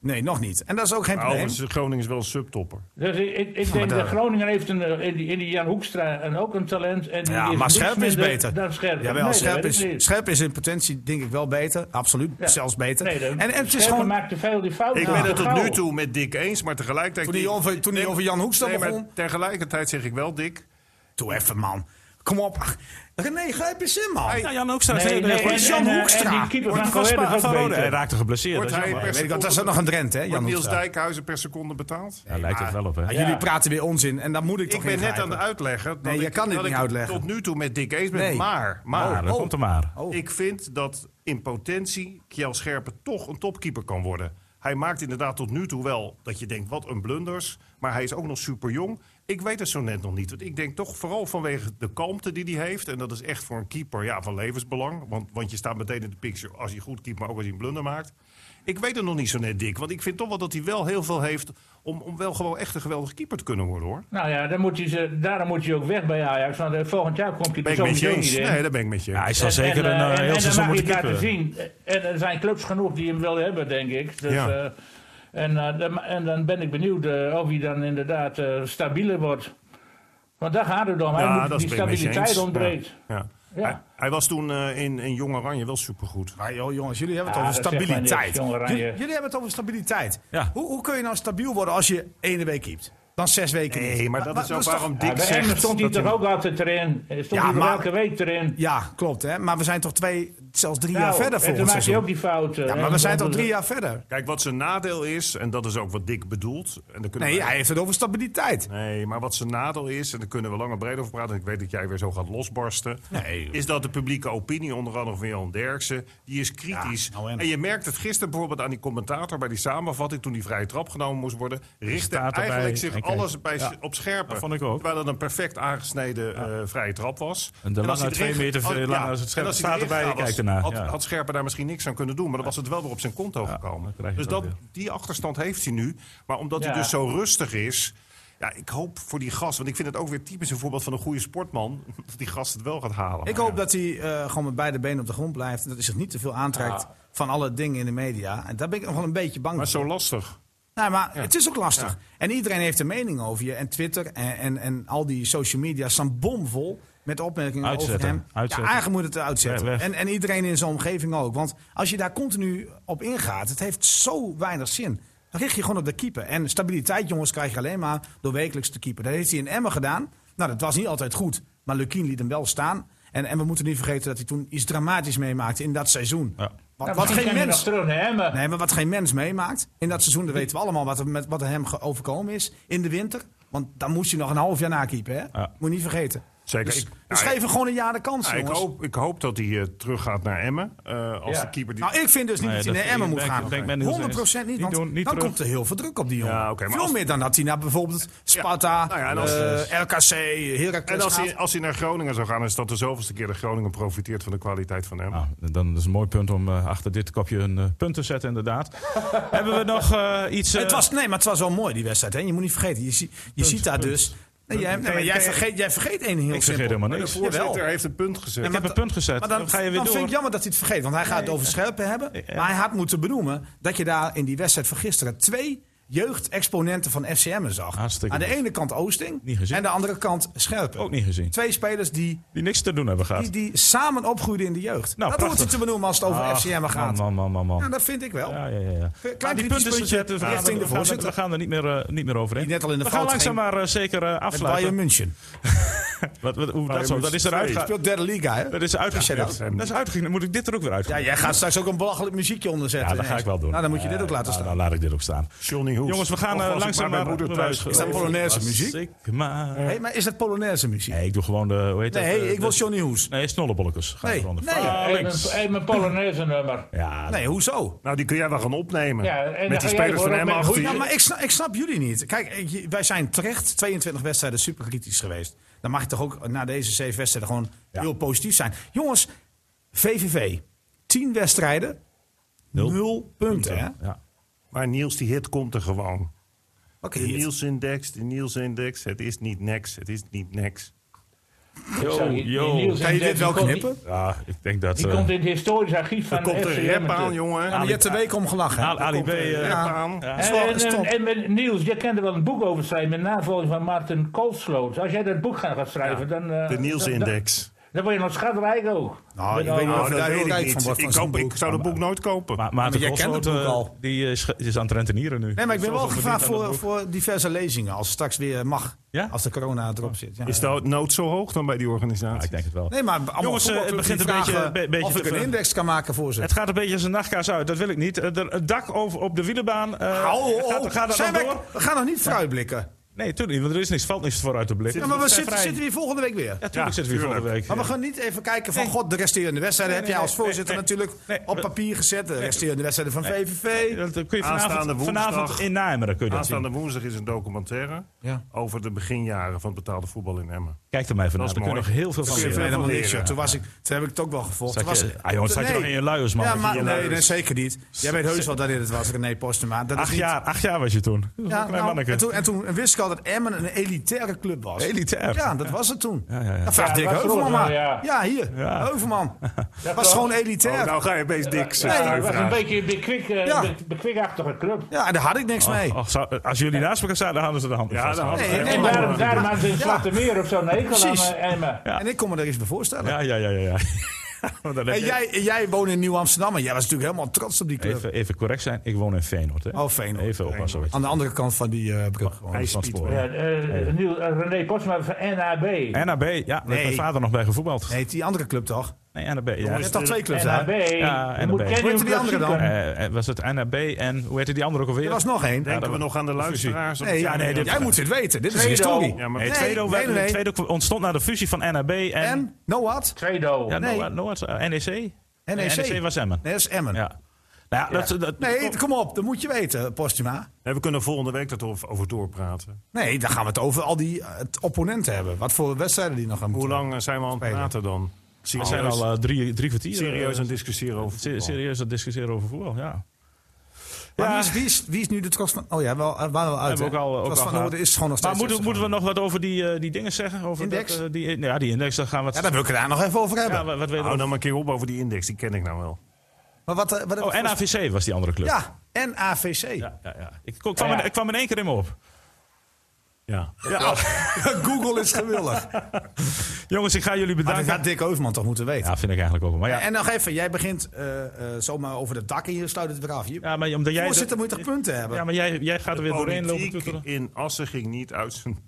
Speaker 2: Nee, nog niet. En dat is ook geen probleem.
Speaker 4: Overigens, Groningen is wel een subtopper.
Speaker 5: Dus ik, ik, ik denk
Speaker 2: daar-
Speaker 5: dat Groningen heeft een, eh, in, die, in die Jan Hoekstra en ook een talent. En die
Speaker 2: Ja,
Speaker 5: is
Speaker 2: maar
Speaker 5: niks
Speaker 2: Scherpen is
Speaker 5: minder
Speaker 2: beter.
Speaker 5: Dan Scherpen.
Speaker 2: Jawel,
Speaker 5: Nee, dat
Speaker 2: Scherpen,
Speaker 5: weet ik
Speaker 2: is,
Speaker 5: niet.
Speaker 2: Scherpen is in potentie denk ik wel beter. Absoluut,
Speaker 5: Ja.
Speaker 2: zelfs beter.
Speaker 5: Nee, dat-
Speaker 2: en, en het is
Speaker 5: Scherpen
Speaker 2: gewoon...
Speaker 5: maakt te veel die fouten.
Speaker 4: Ik
Speaker 5: Ja.
Speaker 4: ben het tot nu
Speaker 5: Gauw.
Speaker 4: toe met Dick eens, maar tegelijkertijd...
Speaker 2: Toen hij over, toen hij over Jan Hoekstra
Speaker 4: Nee, maar
Speaker 2: begon...
Speaker 4: tegelijkertijd zeg ik wel, Dick...
Speaker 2: Doe even, man. Kom op. Ach, René, grijp eens in, man.
Speaker 1: Ja, Jan Hoekstra.
Speaker 5: Nee, nee, en,
Speaker 2: Jan
Speaker 5: en, eh,
Speaker 2: Hoekstra.
Speaker 5: En die keeper van
Speaker 1: Van,
Speaker 5: Go Ahead is ook
Speaker 1: Rode. Hij
Speaker 5: beter.
Speaker 1: raakte geblesseerd.
Speaker 4: Wordt
Speaker 1: dat is
Speaker 4: hij
Speaker 1: jammer.
Speaker 4: per
Speaker 2: Weet ik,
Speaker 4: seconde,
Speaker 2: dat dat is ook nog een Drenthe, hè, Jan
Speaker 4: wordt Niels
Speaker 2: Hoekstra.
Speaker 4: Dijkhuizen per seconde betaald?
Speaker 1: Daar lijkt het wel op, hè?
Speaker 2: Ah, Ja, Jullie praten weer onzin en daar moet ik toch
Speaker 4: Ik ben
Speaker 2: in
Speaker 4: net aan
Speaker 2: grijpen.
Speaker 4: het uitleggen.
Speaker 2: Nee,
Speaker 4: dat
Speaker 2: je
Speaker 4: ik-
Speaker 2: kan dit
Speaker 4: dat
Speaker 2: niet
Speaker 4: ik
Speaker 2: uitleggen.
Speaker 4: Tot nu toe met Dick eens ben.
Speaker 2: Nee.
Speaker 4: Maar,
Speaker 1: Maar,
Speaker 4: maar
Speaker 1: dat komt er maar.
Speaker 2: Oh.
Speaker 4: ik vind dat in potentie Kjell Scherpen toch een topkeeper kan worden. Hij maakt inderdaad tot nu toe wel dat je denkt, wat een blunders. Maar hij is ook nog super jong. Ik weet het zo net nog niet. Want ik denk toch vooral vanwege de kalmte die hij heeft. En dat is echt voor een keeper ja, van levensbelang. Want, want je staat meteen in de picture als hij goed keept, maar ook als hij een blunder maakt. Ik weet het nog niet zo net, Dick. Want ik vind toch wel dat hij wel heel veel heeft om, om wel gewoon echt een geweldige keeper te kunnen worden, hoor.
Speaker 5: Nou ja, dan moet hij ze, daarom moet hij ook weg bij Ajax. Want eh, volgend jaar komt hij
Speaker 4: Ben
Speaker 5: er
Speaker 4: ik met je
Speaker 5: sowieso niet
Speaker 4: eens.
Speaker 5: in.
Speaker 4: Nee, daar ben ik met je.
Speaker 1: Ja, hij
Speaker 4: eens.
Speaker 1: zal zeker een
Speaker 5: eh,
Speaker 1: eh,
Speaker 5: en- en
Speaker 1: heel
Speaker 5: dan
Speaker 1: seizoen
Speaker 5: mag
Speaker 1: moeten
Speaker 5: hij het laten
Speaker 1: keeper.
Speaker 5: zien. En er zijn clubs genoeg die hem willen hebben, denk ik. Dus,
Speaker 4: Ja.
Speaker 5: eh, en, eh, dan- en dan ben ik benieuwd eh, of hij dan inderdaad eh, stabieler wordt. Want daar gaat het om. Hij
Speaker 4: Ja,
Speaker 5: moet-
Speaker 4: dat
Speaker 5: die
Speaker 4: ben ik met je
Speaker 5: stabiliteit
Speaker 4: eens.
Speaker 5: ontbreekt.
Speaker 4: Ja. Ja.
Speaker 5: Ja.
Speaker 4: Hij, hij was toen eh, in, in Jong Oranje wel supergoed.
Speaker 2: Maar joh, jongens, jullie hebben het
Speaker 5: Ja,
Speaker 2: over
Speaker 5: dat zegt maar niks,
Speaker 2: stabiliteit.
Speaker 5: jongen, Oranje.
Speaker 2: jullie, jullie hebben het over stabiliteit.
Speaker 1: Ja.
Speaker 2: Hoe, hoe kun je nou stabiel worden als je ene week keept? Dan zes weken
Speaker 4: Nee,
Speaker 2: niet.
Speaker 4: maar dat is ook
Speaker 2: toch-
Speaker 4: waarom
Speaker 5: Ja,
Speaker 4: Dick
Speaker 5: bij Emmen
Speaker 4: zegt...
Speaker 5: stond hij
Speaker 4: dat hij-
Speaker 5: toch ook altijd erin. Eh, Stond
Speaker 2: Ja,
Speaker 5: hij
Speaker 2: maar-
Speaker 5: er elke week erin.
Speaker 2: Ja, klopt hè. Maar we zijn toch twee, zelfs drie
Speaker 5: Nou,
Speaker 2: jaar verder
Speaker 5: en toen
Speaker 2: volgens
Speaker 5: maakte
Speaker 2: seizoen.
Speaker 5: hij ook die fout. eh,
Speaker 2: Ja, maar we zijn toch drie jaar verder?
Speaker 4: Kijk, wat zijn nadeel is, en dat is ook wat Dick bedoelt... En daar kunnen
Speaker 2: Nee,
Speaker 4: we-
Speaker 2: hij heeft het over stabiliteit.
Speaker 4: nee, maar wat zijn nadeel is, en daar kunnen we lang en breed over praten... en ik weet dat jij weer zo gaat losbarsten...
Speaker 2: Nee, joh.
Speaker 4: is dat de publieke opinie, onder andere van Jan Derksen... die is kritisch.
Speaker 2: Ja, nou en.
Speaker 4: en. je merkt het gisteren bijvoorbeeld aan die commentator... bij die samenvatting, toen die vrije trap genomen moest worden... richtte
Speaker 1: staat erbij,
Speaker 4: eigenlijk zich
Speaker 1: en kijk.
Speaker 4: alles bij, op scherpen.
Speaker 1: dat vond ik ook.
Speaker 4: Terwijl dat een perfect aangesneden eh, vrije trap was.
Speaker 1: En de
Speaker 4: als
Speaker 1: lange
Speaker 4: hij
Speaker 1: twee
Speaker 4: erin ge-
Speaker 1: meter
Speaker 4: als-
Speaker 1: lang
Speaker 4: ja,
Speaker 1: als het scherp
Speaker 4: en als hij
Speaker 1: staat
Speaker 4: erin
Speaker 1: erbij,
Speaker 4: gegaan was,
Speaker 1: kijk ernaar,
Speaker 4: Had,
Speaker 1: ja.
Speaker 4: had Scherpen daar misschien niks aan kunnen doen, maar dan was het wel weer op zijn konto
Speaker 1: dan
Speaker 4: gekomen.
Speaker 1: krijg je
Speaker 4: Dus
Speaker 1: dat
Speaker 4: dat,
Speaker 1: weer.
Speaker 4: die achterstand heeft hij nu. Maar omdat
Speaker 5: Ja.
Speaker 4: hij dus zo rustig is. Ja, ik hoop voor die gast, want ik vind het ook weer typisch een voorbeeld van een goede sportman. Dat die gast het wel gaat halen.
Speaker 2: Ik hoop dat hij eh, gewoon met beide benen op de grond blijft. En dat hij zich niet te veel aantrekt van alle dingen in de media. En daar ben ik nog wel een beetje bang
Speaker 4: Maar
Speaker 2: voor.
Speaker 4: zo lastig.
Speaker 2: Nou, maar het is ook lastig. En iedereen heeft een mening over je. En Twitter en, en, en al die social media staan bomvol met opmerkingen
Speaker 1: Uitzetten,
Speaker 2: over hem.
Speaker 1: uitzetten.
Speaker 2: Ja, eigenlijk moet het uitzetten.
Speaker 1: Weg, weg.
Speaker 2: En, en iedereen in zijn omgeving ook. Want als je daar continu op ingaat, het heeft zo weinig zin. Dan richt je gewoon op de keeper. En stabiliteit, jongens, krijg je alleen maar door wekelijks te keeper. Dat heeft hij in Emmen gedaan. Nou, dat was niet altijd goed. Maar Lukien liet hem wel staan. En, en we moeten niet vergeten dat hij toen iets dramatisch meemaakte in dat seizoen.
Speaker 1: Ja.
Speaker 2: Wat,
Speaker 5: Nou,
Speaker 2: wat
Speaker 5: misschien
Speaker 2: geen
Speaker 5: kan je
Speaker 2: mens...
Speaker 5: nog terug naar Emmen.
Speaker 2: Nee, maar wat geen mens meemaakt in dat seizoen, dat weten we allemaal wat er, met, wat er hem ge- overkomen is in de winter. Want dan moest hij nog een half jaar nakeepen, hè? Moet je niet vergeten.
Speaker 4: Zeker.
Speaker 2: Dus,
Speaker 4: Ik-
Speaker 2: dus
Speaker 4: ja,
Speaker 2: geef hem gewoon een jaar de kans,
Speaker 4: Ja, ik,
Speaker 2: jongens.
Speaker 4: hoop, ik hoop dat hij eh, teruggaat naar Emmen. eh, als
Speaker 5: Ja.
Speaker 4: de keeper die...
Speaker 2: Nou, ik vind dus niet
Speaker 1: Nee,
Speaker 2: dat hij
Speaker 1: dat-
Speaker 2: naar Emmen
Speaker 1: ik
Speaker 2: moet
Speaker 1: denk-
Speaker 2: gaan.
Speaker 1: ik denk met Niels
Speaker 2: 100% niet,
Speaker 1: eens.
Speaker 2: want
Speaker 1: Niet doen, niet
Speaker 2: dan
Speaker 1: terug.
Speaker 2: komt er heel veel druk op die jongen.
Speaker 4: Ja, oké, maar
Speaker 2: veel
Speaker 4: als-
Speaker 2: meer dan dat hij naar bijvoorbeeld Sparta,
Speaker 4: Nou ja, en als-
Speaker 2: eh, RKC, Heracles
Speaker 4: en als
Speaker 2: gaat.
Speaker 4: hij, als hij naar Groningen zou gaan, is dat de zoveelste keer dat Groningen profiteert van de kwaliteit van Emmen.
Speaker 1: Nou, dan is het een mooi punt om eh, achter dit kopje een eh, punt te zetten, inderdaad. Hebben we nog eh, iets... eh,
Speaker 2: het was, nee, maar het was wel mooi, die wedstrijd. Hè? Je moet niet vergeten, je, zie- je ziet daar dus... Nee, jij, nee, maar jij, vergeet, jij vergeet één heel
Speaker 1: ik
Speaker 2: simpel.
Speaker 1: vergeet helemaal
Speaker 4: de
Speaker 1: niks. Ik
Speaker 4: voorzitter
Speaker 2: Jawel.
Speaker 4: heeft een punt gezet.
Speaker 1: heb een punt gezet.
Speaker 2: Maar
Speaker 1: dan, ga je weer
Speaker 2: dan
Speaker 1: door.
Speaker 2: vind ik jammer dat hij het vergeet. Want hij gaat het over scherpen hebben. Maar hij had moeten benoemen dat je daar in die wedstrijd van gisteren twee jeugdexponenten van FCM zag.
Speaker 1: Hartstikke
Speaker 2: Aan de
Speaker 1: goed.
Speaker 2: ene kant Oosting
Speaker 1: Niet gezien. Oh.
Speaker 2: en de andere kant Scherpen.
Speaker 1: Ook niet gezien.
Speaker 2: Twee spelers die,
Speaker 1: Die niks te doen hebben
Speaker 2: die,
Speaker 1: gehad.
Speaker 2: die samen opgroeiden in de jeugd.
Speaker 1: Nou,
Speaker 2: dat
Speaker 1: prachtig.
Speaker 2: hoort je te benoemen als het over
Speaker 1: Ach,
Speaker 2: FCM gaat.
Speaker 1: Man, man, man, man, man.
Speaker 2: Ja, dat vind ik wel.
Speaker 1: Ja, ja, ja. ja.
Speaker 2: Klein
Speaker 1: Maar die
Speaker 2: kritisch
Speaker 1: punten
Speaker 2: puntje
Speaker 1: zetten, we, gaan,
Speaker 2: richting de
Speaker 1: we, gaan,
Speaker 2: voorzitter.
Speaker 1: we gaan er niet meer, eh, niet meer overheen.
Speaker 2: Die net al in de
Speaker 1: we gaan
Speaker 2: fout
Speaker 1: langzaam
Speaker 2: ging.
Speaker 1: maar eh, zeker eh,
Speaker 2: Bayern
Speaker 1: afsluiten.
Speaker 2: München.
Speaker 1: Wat, wat, hoe, dat,
Speaker 4: Bayern
Speaker 1: zo, dat is
Speaker 4: München
Speaker 1: eruit
Speaker 4: twee.
Speaker 1: gegaan.
Speaker 2: Speelt derde liga, hè?
Speaker 1: Dat is uitgegaan.
Speaker 2: Zet
Speaker 1: Dat is uitgegaan. Dan moet ik dit er ook weer uit.
Speaker 2: Ja, jij gaat straks ook een belachelijk muziekje onderzetten.
Speaker 1: dat ga ik wel doen.
Speaker 2: Nou, dan moet je dit
Speaker 1: Eh,
Speaker 2: ook laten
Speaker 1: nou,
Speaker 2: staan.
Speaker 1: Dan laat ik dit ook staan.
Speaker 4: Johnny Hoes.
Speaker 1: Jongens, we gaan
Speaker 4: Of
Speaker 1: eh,
Speaker 4: was ik
Speaker 1: langzaam
Speaker 4: bij
Speaker 1: maar...
Speaker 4: mijn moeder thuis.
Speaker 2: Is dat Polonaise muziek?
Speaker 1: Ik maar...
Speaker 2: Hey, maar is dat Polonaise muziek?
Speaker 1: nou. Nee, ik doe gewoon de... Hoe heet dat?
Speaker 2: Nee,
Speaker 1: eh,
Speaker 2: ik wil
Speaker 1: de-
Speaker 2: Johnny Hoes.
Speaker 1: Nee, snollebollekes. Gaan
Speaker 2: Nee,
Speaker 1: we eronder.
Speaker 2: nee.
Speaker 1: Van
Speaker 5: Even,
Speaker 1: links.
Speaker 5: even een Polonaise nummer.
Speaker 1: Ja,
Speaker 2: Nee, hoezo?
Speaker 4: Nou, die kun jij wel gaan opnemen.
Speaker 5: Ja, en dan
Speaker 4: met
Speaker 5: ga
Speaker 4: die
Speaker 5: jij
Speaker 4: spelers van
Speaker 5: gewoon
Speaker 4: Emmen
Speaker 5: ook
Speaker 4: achter
Speaker 5: met-
Speaker 4: je.
Speaker 2: Oh, Ja, maar ik snap, ik snap jullie niet. Kijk, eh, je- wij zijn terecht 22 wedstrijden super kritisch geweest. Dan mag je toch ook na deze zeven wedstrijden gewoon heel positief zijn. Jongens, VVV, 10 wedstrijden, 0, punten. hè?
Speaker 1: Ja.
Speaker 4: Maar Niels, die hit komt er gewoon.
Speaker 2: Oké,
Speaker 4: De Niels-index, de Niels-index. Het is niet niks, het is niet niks.
Speaker 1: Yo,
Speaker 5: Sorry, die
Speaker 1: yo.
Speaker 5: Niels en Dirk, die komt-
Speaker 2: Nou,
Speaker 1: Ja, ik denk dat...
Speaker 5: Die
Speaker 1: eh,
Speaker 5: komt in het historisch archief van
Speaker 4: Er komt
Speaker 5: FC
Speaker 4: een rap
Speaker 5: Emmen.
Speaker 4: aan, jongen.
Speaker 2: Ja, maar je hebt de week om gelachen. hè?
Speaker 1: Ali- Ali
Speaker 2: Daar
Speaker 1: B,
Speaker 2: komt, eh,
Speaker 1: eh,
Speaker 2: ja.
Speaker 4: aan.
Speaker 2: Dat is
Speaker 5: En,
Speaker 2: wel-
Speaker 5: en,
Speaker 2: dat is
Speaker 5: en,
Speaker 2: toch-
Speaker 5: en met Niels, jij kan er wel een boek over schrijven met navolging van Maarten Koolsloot. Als jij dat boek gaat gaat schrijven, dan... eh,
Speaker 4: De
Speaker 5: Dan,
Speaker 4: Niels-index.
Speaker 5: dan, dan word je nog schatrijk ook.
Speaker 2: Nou, ik
Speaker 5: Met al-
Speaker 2: weet niet of
Speaker 4: Nou,
Speaker 2: je
Speaker 4: dat
Speaker 2: daar heel
Speaker 4: weet ik
Speaker 2: rijk van
Speaker 4: niet.
Speaker 2: wordt
Speaker 4: Ik,
Speaker 2: van zo'n
Speaker 4: koop,
Speaker 2: boek.
Speaker 4: ik zou dat boek nooit kopen.
Speaker 1: Maar Maarten
Speaker 2: jij kent
Speaker 1: Koolsloot,
Speaker 2: het boek
Speaker 1: eh,
Speaker 2: al.
Speaker 1: Die is, ge- is aan het rentenieren nu.
Speaker 2: Nee, maar ik ben wel
Speaker 1: Zoveel
Speaker 2: gevraagd
Speaker 1: verdiend aan
Speaker 2: voor,
Speaker 1: dat boek.
Speaker 2: voor diverse lezingen. Als het straks weer mag.
Speaker 1: Ja?
Speaker 2: Als de corona erop zit. Ja.
Speaker 4: Is de nood zo hoog dan bij die organisatie?
Speaker 1: Ja, ik denk het wel.
Speaker 2: Nee, maar allemaal
Speaker 1: Jongens, eh, het
Speaker 2: voetbalclubs
Speaker 1: begint een
Speaker 2: die
Speaker 1: beetje-
Speaker 2: vragen
Speaker 1: be- beetje
Speaker 2: Of
Speaker 1: te
Speaker 2: ik een
Speaker 1: ver-
Speaker 2: index kan maken voor ze.
Speaker 1: Het gaat een beetje als een nachtkaas uit, dat wil ik niet. Eh, Er, het dak over, op de wielenbaan. eh,
Speaker 2: Hou
Speaker 1: gaat-
Speaker 2: op.
Speaker 1: Gaat dat
Speaker 2: Zijn
Speaker 1: nog
Speaker 2: wij-
Speaker 1: door?
Speaker 2: we gaan nog niet vooruitblikken.
Speaker 1: Nee, natuurlijk niet, want er is niks, valt niks voor uit de blik.
Speaker 2: Ja, maar we zitten,
Speaker 1: vrij.
Speaker 2: zitten hier volgende week weer.
Speaker 1: Ja, tuurlijk
Speaker 4: Ja,
Speaker 1: zitten we hier
Speaker 4: tuurlijk.
Speaker 1: volgende week.
Speaker 2: Maar we
Speaker 1: Ja.
Speaker 2: gaan niet even kijken van, god, de resterende wedstrijden
Speaker 1: Nee,
Speaker 2: heb jij
Speaker 1: nee,
Speaker 2: als
Speaker 1: nee,
Speaker 2: voorzitter
Speaker 1: nee,
Speaker 2: natuurlijk
Speaker 1: nee.
Speaker 2: op papier gezet. De resterende wedstrijden van VVV.
Speaker 1: Dat eh, kun je
Speaker 4: Aanstaande
Speaker 1: vanavond,
Speaker 4: woensdag.
Speaker 1: vanavond in Nijmegen kun je dat zien.
Speaker 4: Aanstaande woensdag is een documentaire
Speaker 2: Ja.
Speaker 4: over de beginjaren van het betaalde voetbal in Emmen.
Speaker 1: Kijk er maar even naar,
Speaker 4: is
Speaker 1: daar kun je nog
Speaker 4: mooi.
Speaker 1: heel veel van
Speaker 4: kun je
Speaker 1: leren.
Speaker 4: veel
Speaker 2: Helemaal niks,
Speaker 4: leren.
Speaker 2: joh. Toen, was ik, toen heb ik het ook wel gevolgd. Toen
Speaker 1: Zat
Speaker 2: was,
Speaker 1: je- ah, jongens, zat je
Speaker 2: Nee.
Speaker 1: nog in je luiers, man,
Speaker 2: Ja,
Speaker 1: dat je
Speaker 2: maar,
Speaker 1: je
Speaker 2: nee,
Speaker 1: luiers-
Speaker 2: nee, zeker niet. Jij weet heus wel dat dit het was, René Postema. Dat is
Speaker 1: Acht
Speaker 2: niet-
Speaker 1: jaar, acht jaar was je toen. Dat was
Speaker 2: Ja,
Speaker 1: een klein
Speaker 2: nou,
Speaker 1: manneke.
Speaker 2: en, toen, en toen wist ik al dat Emmen een elitaire club was.
Speaker 1: Elitair.
Speaker 2: Ja, dat was het toen.
Speaker 1: ja, ja.
Speaker 2: Dat vraagt
Speaker 5: Ja,
Speaker 2: Dick
Speaker 5: dat was
Speaker 2: Heuvelman
Speaker 5: vroeger,
Speaker 2: maar. Ja.
Speaker 5: ja.
Speaker 2: hier.
Speaker 1: Ja.
Speaker 2: Heuvelman. Dat was
Speaker 5: klopt.
Speaker 2: gewoon
Speaker 4: Oh,
Speaker 2: elitair.
Speaker 4: nou ga je opeens dik
Speaker 5: Ja,
Speaker 4: ja,
Speaker 5: het was een beetje een bekwik, eh,
Speaker 2: Ja.
Speaker 5: be- bekwikachtige club.
Speaker 2: Ja, daar had ik niks mee.
Speaker 1: Och, zou- als jullie naast elkaar zaten, hadden ze de hand.
Speaker 4: Ja, dan hadden
Speaker 2: Nee,
Speaker 4: we
Speaker 2: nee,
Speaker 5: En
Speaker 2: maar-
Speaker 5: daarom, daarom hadden ze in
Speaker 2: Ja.
Speaker 5: Zwarte Meer of zo een hekel aan
Speaker 2: Precies.
Speaker 5: eh, Emmen.
Speaker 2: En ik kon me daar iets bij voorstellen.
Speaker 1: Ja, ja, ja, ja. ja. Want dan heb
Speaker 2: En
Speaker 1: je-
Speaker 2: jij, en jij woonde in Nieuw-Amsterdam en jij was natuurlijk helemaal trots op die club.
Speaker 1: even, even correct zijn, ik woon in Feyenoord. Hè?
Speaker 2: Oh, Feyenoord.
Speaker 1: Even oppassen. wat je-
Speaker 2: Aan de andere kant van die eh brug. gewoon.
Speaker 4: Hij
Speaker 1: van het spoor.
Speaker 5: Ja, eh, Niels- eh, René Postma van NAB.
Speaker 1: NAB, ja, daar heeft mijn vader nog bij gevoetbald. Nee,
Speaker 2: Nee, die andere club toch?
Speaker 1: NAB, ja.
Speaker 2: Er is toch twee clubs,
Speaker 5: NAB.
Speaker 2: hè?
Speaker 1: Ja,
Speaker 5: Je
Speaker 1: NAB.
Speaker 5: moet
Speaker 1: Hoe
Speaker 5: kennen
Speaker 2: heette
Speaker 5: hoe
Speaker 2: die andere dan?
Speaker 5: klassieker.
Speaker 1: Eh, eh, was het NAB en hoe heette die andere ook alweer?
Speaker 2: Er was nog één.
Speaker 4: Denken we nog aan de luisteraars?
Speaker 2: Nee,
Speaker 4: Ja,
Speaker 2: ja, nee,
Speaker 4: dat-
Speaker 2: jij moet dit weten. Dit is
Speaker 5: Tweede.
Speaker 2: historie.
Speaker 4: Ja, maar-
Speaker 1: Nee,
Speaker 4: Nee,
Speaker 1: Tweedo
Speaker 2: nee,
Speaker 1: werd-
Speaker 2: nee.
Speaker 1: Tweedo ontstond na de fusie van NAB en,
Speaker 2: En, no what?
Speaker 5: Tweedo.
Speaker 1: ja,
Speaker 2: nee.
Speaker 1: Noord, Noord, eh, NEC. NEC.
Speaker 2: NEC.
Speaker 1: E was Emmen.
Speaker 2: E Nee, dat is Emmen.
Speaker 1: Ja. Nou ja, Dat, dat,
Speaker 2: Nee, kom op. Dat moet je weten, Postuma.
Speaker 4: Nee, we kunnen volgende week dat over over doorpraten.
Speaker 2: Nee, dan gaan we het over al die eh, het opponenten hebben. Wat voor wedstrijden die nog gaan
Speaker 4: Hoe
Speaker 2: moeten.
Speaker 4: lang eh, zijn we aan het
Speaker 2: Spelen. Oh,
Speaker 4: praten dan?
Speaker 1: we
Speaker 4: Serieus,
Speaker 1: zijn al eh, drie, drie kwartier.
Speaker 4: serieus aan
Speaker 1: eh,
Speaker 4: het discussiëren over
Speaker 1: se-
Speaker 4: voetbal.
Speaker 1: serieus aan het discussiëren over voetbal, ja.
Speaker 2: Maar
Speaker 1: Ja.
Speaker 2: wie, is, wie, is, wie is nu de trots van... Oh ja, wel, eh, waren we al uit.
Speaker 1: Hebben we
Speaker 2: hè?
Speaker 1: ook al, ook
Speaker 2: Trots
Speaker 1: al
Speaker 2: van
Speaker 1: gehad.
Speaker 2: Noorden is gewoon nog
Speaker 1: maar
Speaker 2: steeds...
Speaker 1: moeten, moeten we nog wat over die, eh, die dingen zeggen? Over
Speaker 2: Index?
Speaker 1: dat, eh, die, ja, die index, daar gaan we het...
Speaker 2: Ja, daar wil ik het daar nog even over hebben.
Speaker 1: ja, wat, wat weten we
Speaker 4: Hou nou maar een keer op over die index, die ken ik nou wel.
Speaker 2: Maar wat... eh, wat
Speaker 1: Oh, NAVC was die andere club.
Speaker 2: Ja, en AVC.
Speaker 1: Ja, ja, ja. Ik, kon- kwam
Speaker 5: Ja, ja.
Speaker 1: In, ik kwam in één keer in me op.
Speaker 4: Ja.
Speaker 2: Google is gewillig.
Speaker 1: Jongens, ik ga jullie
Speaker 2: Maar dat
Speaker 1: bedanken.
Speaker 2: had Dick Heuvelman toch moeten weten.
Speaker 1: Ja, vind ik eigenlijk ook wel. Maar ja,
Speaker 2: En nog even, jij begint eh, eh, zomaar over de dak en je sluit het weer af. Je
Speaker 1: ja maar omdat jij...
Speaker 2: voorzitter moet toch punten hebben?
Speaker 1: ja, maar jij, jij gaat er weer doorheen lopen
Speaker 4: Politiek
Speaker 1: toeteren.
Speaker 4: in Assen ging niet uit zijn...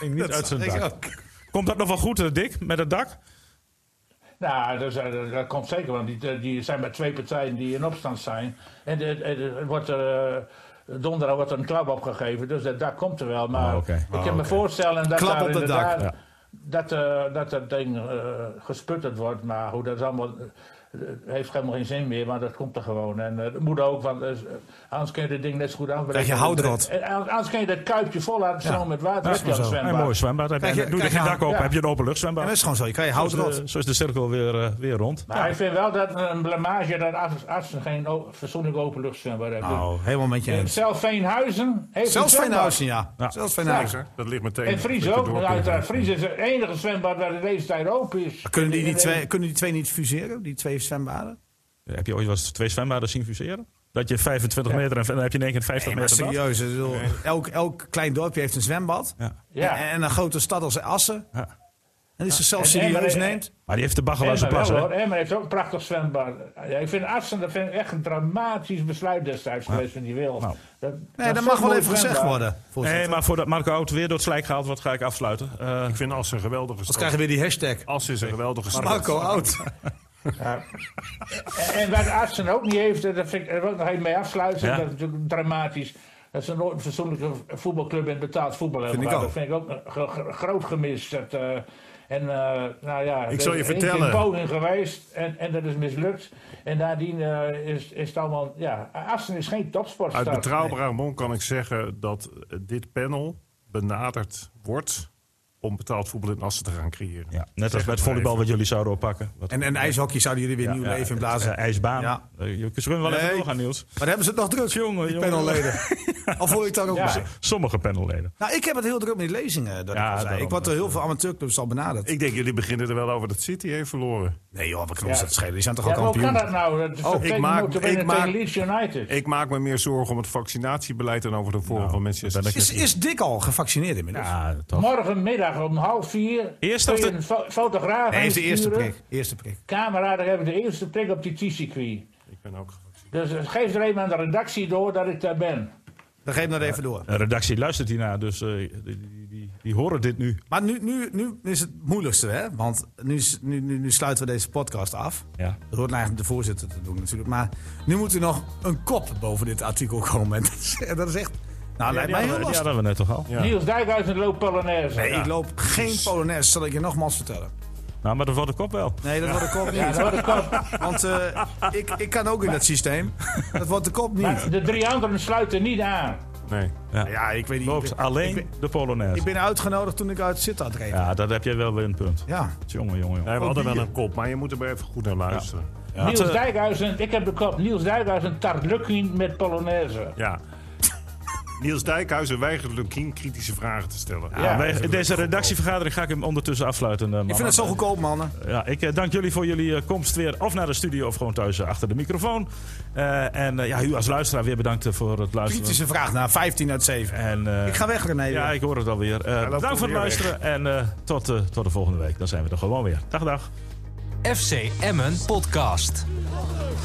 Speaker 1: Ik niet uit zijn
Speaker 2: denk ik oh.
Speaker 1: dak.
Speaker 2: ook.
Speaker 1: Komt dat nog wel goed, eh, Dick, met het dak?
Speaker 5: Nou, dat, is- dat- dat komt zeker, want die, die zijn maar twee partijen die in opstand zijn. En het, het, het wordt er, eh, donderdag wordt er een klap opgegeven, dus dat, dat komt er wel. Maar
Speaker 2: Oh,
Speaker 1: Ah, oké.
Speaker 5: ik kan
Speaker 1: Ah,
Speaker 5: me
Speaker 1: oké.
Speaker 5: voorstellen dat
Speaker 2: Klap
Speaker 5: daar
Speaker 2: op het dak,
Speaker 5: inderdaad-
Speaker 1: ja.
Speaker 5: dat, eh, dat dat ding eh, gesputterd wordt. Maar hoe dat allemaal... eh, heeft helemaal geen zin meer, maar dat komt er gewoon. En eh, dat moet ook, want eh, anders kun je dit ding net zo goed afbreken.
Speaker 2: Krijg je houtrot.
Speaker 5: En Anders anders kun je dat kuipje vol laten stromen met water. heb je
Speaker 2: maar
Speaker 5: al een
Speaker 2: zo.
Speaker 1: Een
Speaker 5: zwembad.
Speaker 1: mooi zwembad. Heb je,
Speaker 2: Kijk,
Speaker 1: en doe er
Speaker 2: kijk
Speaker 1: geen
Speaker 2: aan.
Speaker 1: dak op,
Speaker 5: Ja.
Speaker 1: heb je een
Speaker 2: Ja,
Speaker 1: openluchtzwembad.
Speaker 2: dat is gewoon zo. Je krijgt
Speaker 1: zo, is
Speaker 2: houtrot.
Speaker 1: de, zo is de cirkel weer, eh, weer rond.
Speaker 5: Maar ik vind wel dat een blamage dat arts- artsen geen o- fatsoenlijk openluchtzwembad hebben.
Speaker 2: Nou, helemaal met je eens.
Speaker 5: Zelf Veenhuizen heeft een
Speaker 2: Zelfs
Speaker 5: zwembad.
Speaker 2: Veenhuizen, ja. Zelfs Veenhuizen.
Speaker 4: Dat ligt meteen.
Speaker 5: En Fries
Speaker 4: dat je
Speaker 5: ook.
Speaker 4: door
Speaker 5: want
Speaker 4: kunt.
Speaker 5: Uiteraard, Fries is het enige zwembad waar de deze tijd open is.
Speaker 2: Kunnen die, die
Speaker 5: In-
Speaker 2: twee, kunnen die twee niet fuseren, die twee zwembaden?
Speaker 1: Ja, Heb je ooit wel eens twee zwembaden zien fuseren? Dat je 25 meter en dan heb je in één keer 50
Speaker 2: Nee, maar
Speaker 1: meter bad.
Speaker 2: serieus. ik bedoel, Elk, elk klein dorpje heeft een zwembad.
Speaker 1: Ja.
Speaker 5: Ja.
Speaker 2: En, en een grote stad als Assen.
Speaker 1: Ja.
Speaker 2: En die zichzelf
Speaker 5: En
Speaker 2: serieus
Speaker 5: Emmeren-
Speaker 2: neemt.
Speaker 1: Maar die heeft de Baggelaarse
Speaker 5: Emmen
Speaker 1: plas,
Speaker 5: wel,
Speaker 1: hè?
Speaker 5: hoor. Emmen heeft ook een prachtig zwembad. Ja, ik vind Artsen dat vind ik echt een dramatisch besluit destijds geweest van die wil.
Speaker 1: Nou.
Speaker 5: Dat,
Speaker 2: Nee, dat mag
Speaker 5: is zo'n
Speaker 2: wel
Speaker 5: mooi
Speaker 2: even gezegd
Speaker 5: zwembad.
Speaker 2: worden.
Speaker 1: Nee,
Speaker 2: voorzitter.
Speaker 1: maar voordat Marco Oud weer door het slijk gehaald wordt, ga ik afsluiten. Eh,
Speaker 4: Ik vind Assen een geweldige
Speaker 2: Wat
Speaker 4: stad.
Speaker 2: krijgen we weer die hashtag?
Speaker 4: Assen is een geweldige stad.
Speaker 2: Marco Oud.
Speaker 5: En, en wat Artsen ook niet heeft, eh, dat vind ik, daar wil ik nog even mee afsluiten.
Speaker 1: Ja.
Speaker 5: Dat is natuurlijk dramatisch. Dat ze nooit een fatsoenlijke voetbalclub in betaald voetbal hebben.
Speaker 2: Vind ik
Speaker 5: gehad.
Speaker 2: ook.
Speaker 5: Dat vind ik ook een gro- gro- groot gemis. Dat, eh, en eh, nou ja,
Speaker 4: Ik zal je
Speaker 5: er is één
Speaker 4: vertellen.
Speaker 5: keer een poging geweest en, en dat is mislukt. En nadien eh, is, is het allemaal, ja, Artsen is geen
Speaker 4: Uit
Speaker 5: topsportstad.
Speaker 4: betrouwbare bron kan ik zeggen dat eh, dit panel benaderd wordt om betaald voetbal in Assen te gaan creëren.
Speaker 1: ja, net
Speaker 4: Zeg
Speaker 1: als
Speaker 4: het
Speaker 1: met
Speaker 4: maar
Speaker 1: volleybal
Speaker 4: even.
Speaker 1: wat jullie zouden oppakken. Wat-
Speaker 2: En, en ijshockey zouden jullie weer nieuw
Speaker 1: ja,
Speaker 2: leven in
Speaker 1: eh,
Speaker 2: blazen.
Speaker 1: ijsbaan.
Speaker 2: Ja.
Speaker 1: Eh, je kunt wel even
Speaker 2: Nee.
Speaker 1: doorgaan, Niels.
Speaker 2: Maar dan hebben ze het nog druk.
Speaker 1: Jongen,
Speaker 2: die
Speaker 1: jongen.
Speaker 2: panelleden. Al voel ik daar ook
Speaker 5: Ja.
Speaker 2: bij.
Speaker 1: Sommige panelleden.
Speaker 2: Nou, ik heb het heel druk met die lezingen. Dat
Speaker 1: Ja,
Speaker 2: ik, al zei.
Speaker 1: daarom,
Speaker 2: ik word door
Speaker 1: dat,
Speaker 2: heel veel amateurclubs al benaderd.
Speaker 4: Ik denk, jullie beginnen er wel over dat City heeft verloren.
Speaker 2: nee joh, we kunnen ons
Speaker 5: Ja.
Speaker 2: dat schelen. Die zijn toch
Speaker 5: Ja,
Speaker 2: al
Speaker 5: maar hoe kan
Speaker 2: kampioen.
Speaker 5: dat nou? Dat is oh,
Speaker 4: ik maak- ik maak-
Speaker 5: tegen Leeds United.
Speaker 4: Ik maak me meer zorgen om het vaccinatiebeleid dan over de vorm van Manchester City.
Speaker 2: Is, is Dick al gevaccineerd inmiddels?
Speaker 1: Ja, toch.
Speaker 5: Morgenmiddag om half vier.
Speaker 1: Eerst
Speaker 5: kun
Speaker 1: of
Speaker 5: je
Speaker 1: de-
Speaker 5: een fo- fotograaf
Speaker 2: Hij heeft de eerste
Speaker 5: insturen.
Speaker 2: prik. Eerste prik.
Speaker 5: Camera, daar hebben we de eerste prik op die T-circuit.
Speaker 4: Ik ben ook gevaccineerd.
Speaker 5: Dus eh, geef er even aan de redactie door dat ik daar ben.
Speaker 2: Dan geef hem dat even door.
Speaker 1: De redactie luistert hiernaar, dus eh, die, die, die, die horen dit nu.
Speaker 2: Maar nu, nu, nu is het moeilijkste, hè? Want nu, is- nu, nu, nu sluiten we deze podcast af.
Speaker 1: Ja.
Speaker 2: Dat hoort eigenlijk de voorzitter te doen natuurlijk. Maar nu moet er nog een kop boven dit artikel komen. En dat is, dat is echt... Nou, lijkt
Speaker 1: die, hadden,
Speaker 2: mij heel
Speaker 1: we- die
Speaker 2: lastig.
Speaker 1: hadden we net toch al.
Speaker 4: Ja.
Speaker 5: Niels Dijkhuis en Loop Polonaise.
Speaker 2: Nee, ik loop geen Polonaise, zal ik je nogmaals vertellen.
Speaker 1: Nou, maar dat wordt de kop wel.
Speaker 2: Nee, dat wordt de kop
Speaker 5: Ja,
Speaker 2: niet.
Speaker 5: dat wordt het kort.
Speaker 2: Want eh, ik, ik kan ook in dat systeem. Dat wordt de kop niet.
Speaker 5: De drie anderen sluiten niet aan.
Speaker 4: Nee.
Speaker 1: Ja.
Speaker 2: Ja, ik weet niet.
Speaker 1: Loopt
Speaker 2: ik,
Speaker 1: alleen
Speaker 2: Ik ben,
Speaker 1: de Polonaise.
Speaker 2: ik ben uitgenodigd toen ik uit Sittard reed. Ja.
Speaker 1: Ja, dat heb jij wel weer een punt. Jongen, jongen, jongen.
Speaker 4: Nee, we hadden wel
Speaker 2: bier.
Speaker 4: een kop, maar je moet er maar even goed naar luisteren.
Speaker 1: Had,
Speaker 5: Niels
Speaker 1: eh,
Speaker 5: Dijkhuis en, ik heb de kop, Niels Dijkhuis en Tartlukin met Polonaise.
Speaker 4: Ja. Niels Dijkhuizen weigert Lukien kritische vragen te stellen.
Speaker 1: ja, wij- deze redactievergadering ga ik hem ondertussen afsluiten. eh,
Speaker 2: Ik
Speaker 1: mannen.
Speaker 2: vind het zo goedkoop, mannen.
Speaker 1: Ja, ik eh, dank jullie voor jullie eh, komst weer. Of naar de studio of gewoon thuis eh, achter de microfoon. Eh, en eh, ja, u als luisteraar weer bedankt eh, voor het luisteren.
Speaker 2: Kritische vraag naar 15 uit 7.
Speaker 1: En, eh,
Speaker 2: Ik ga weg, René.
Speaker 1: Ja, ik hoor het alweer. Eh
Speaker 4: loopt
Speaker 1: bedankt voor het
Speaker 4: alweer
Speaker 1: luisteren en eh, tot, eh, tot de volgende week. Dan zijn we er gewoon weer. Dag, dag.
Speaker 3: FC Emmen Podcast.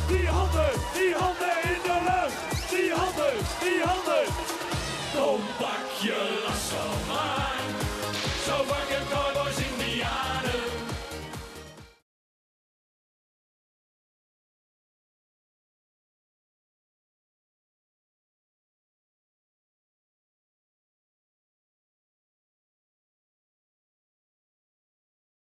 Speaker 6: Die handen, die handen in de lucht. Die handen, die handen. Dan pak je Lasso maar.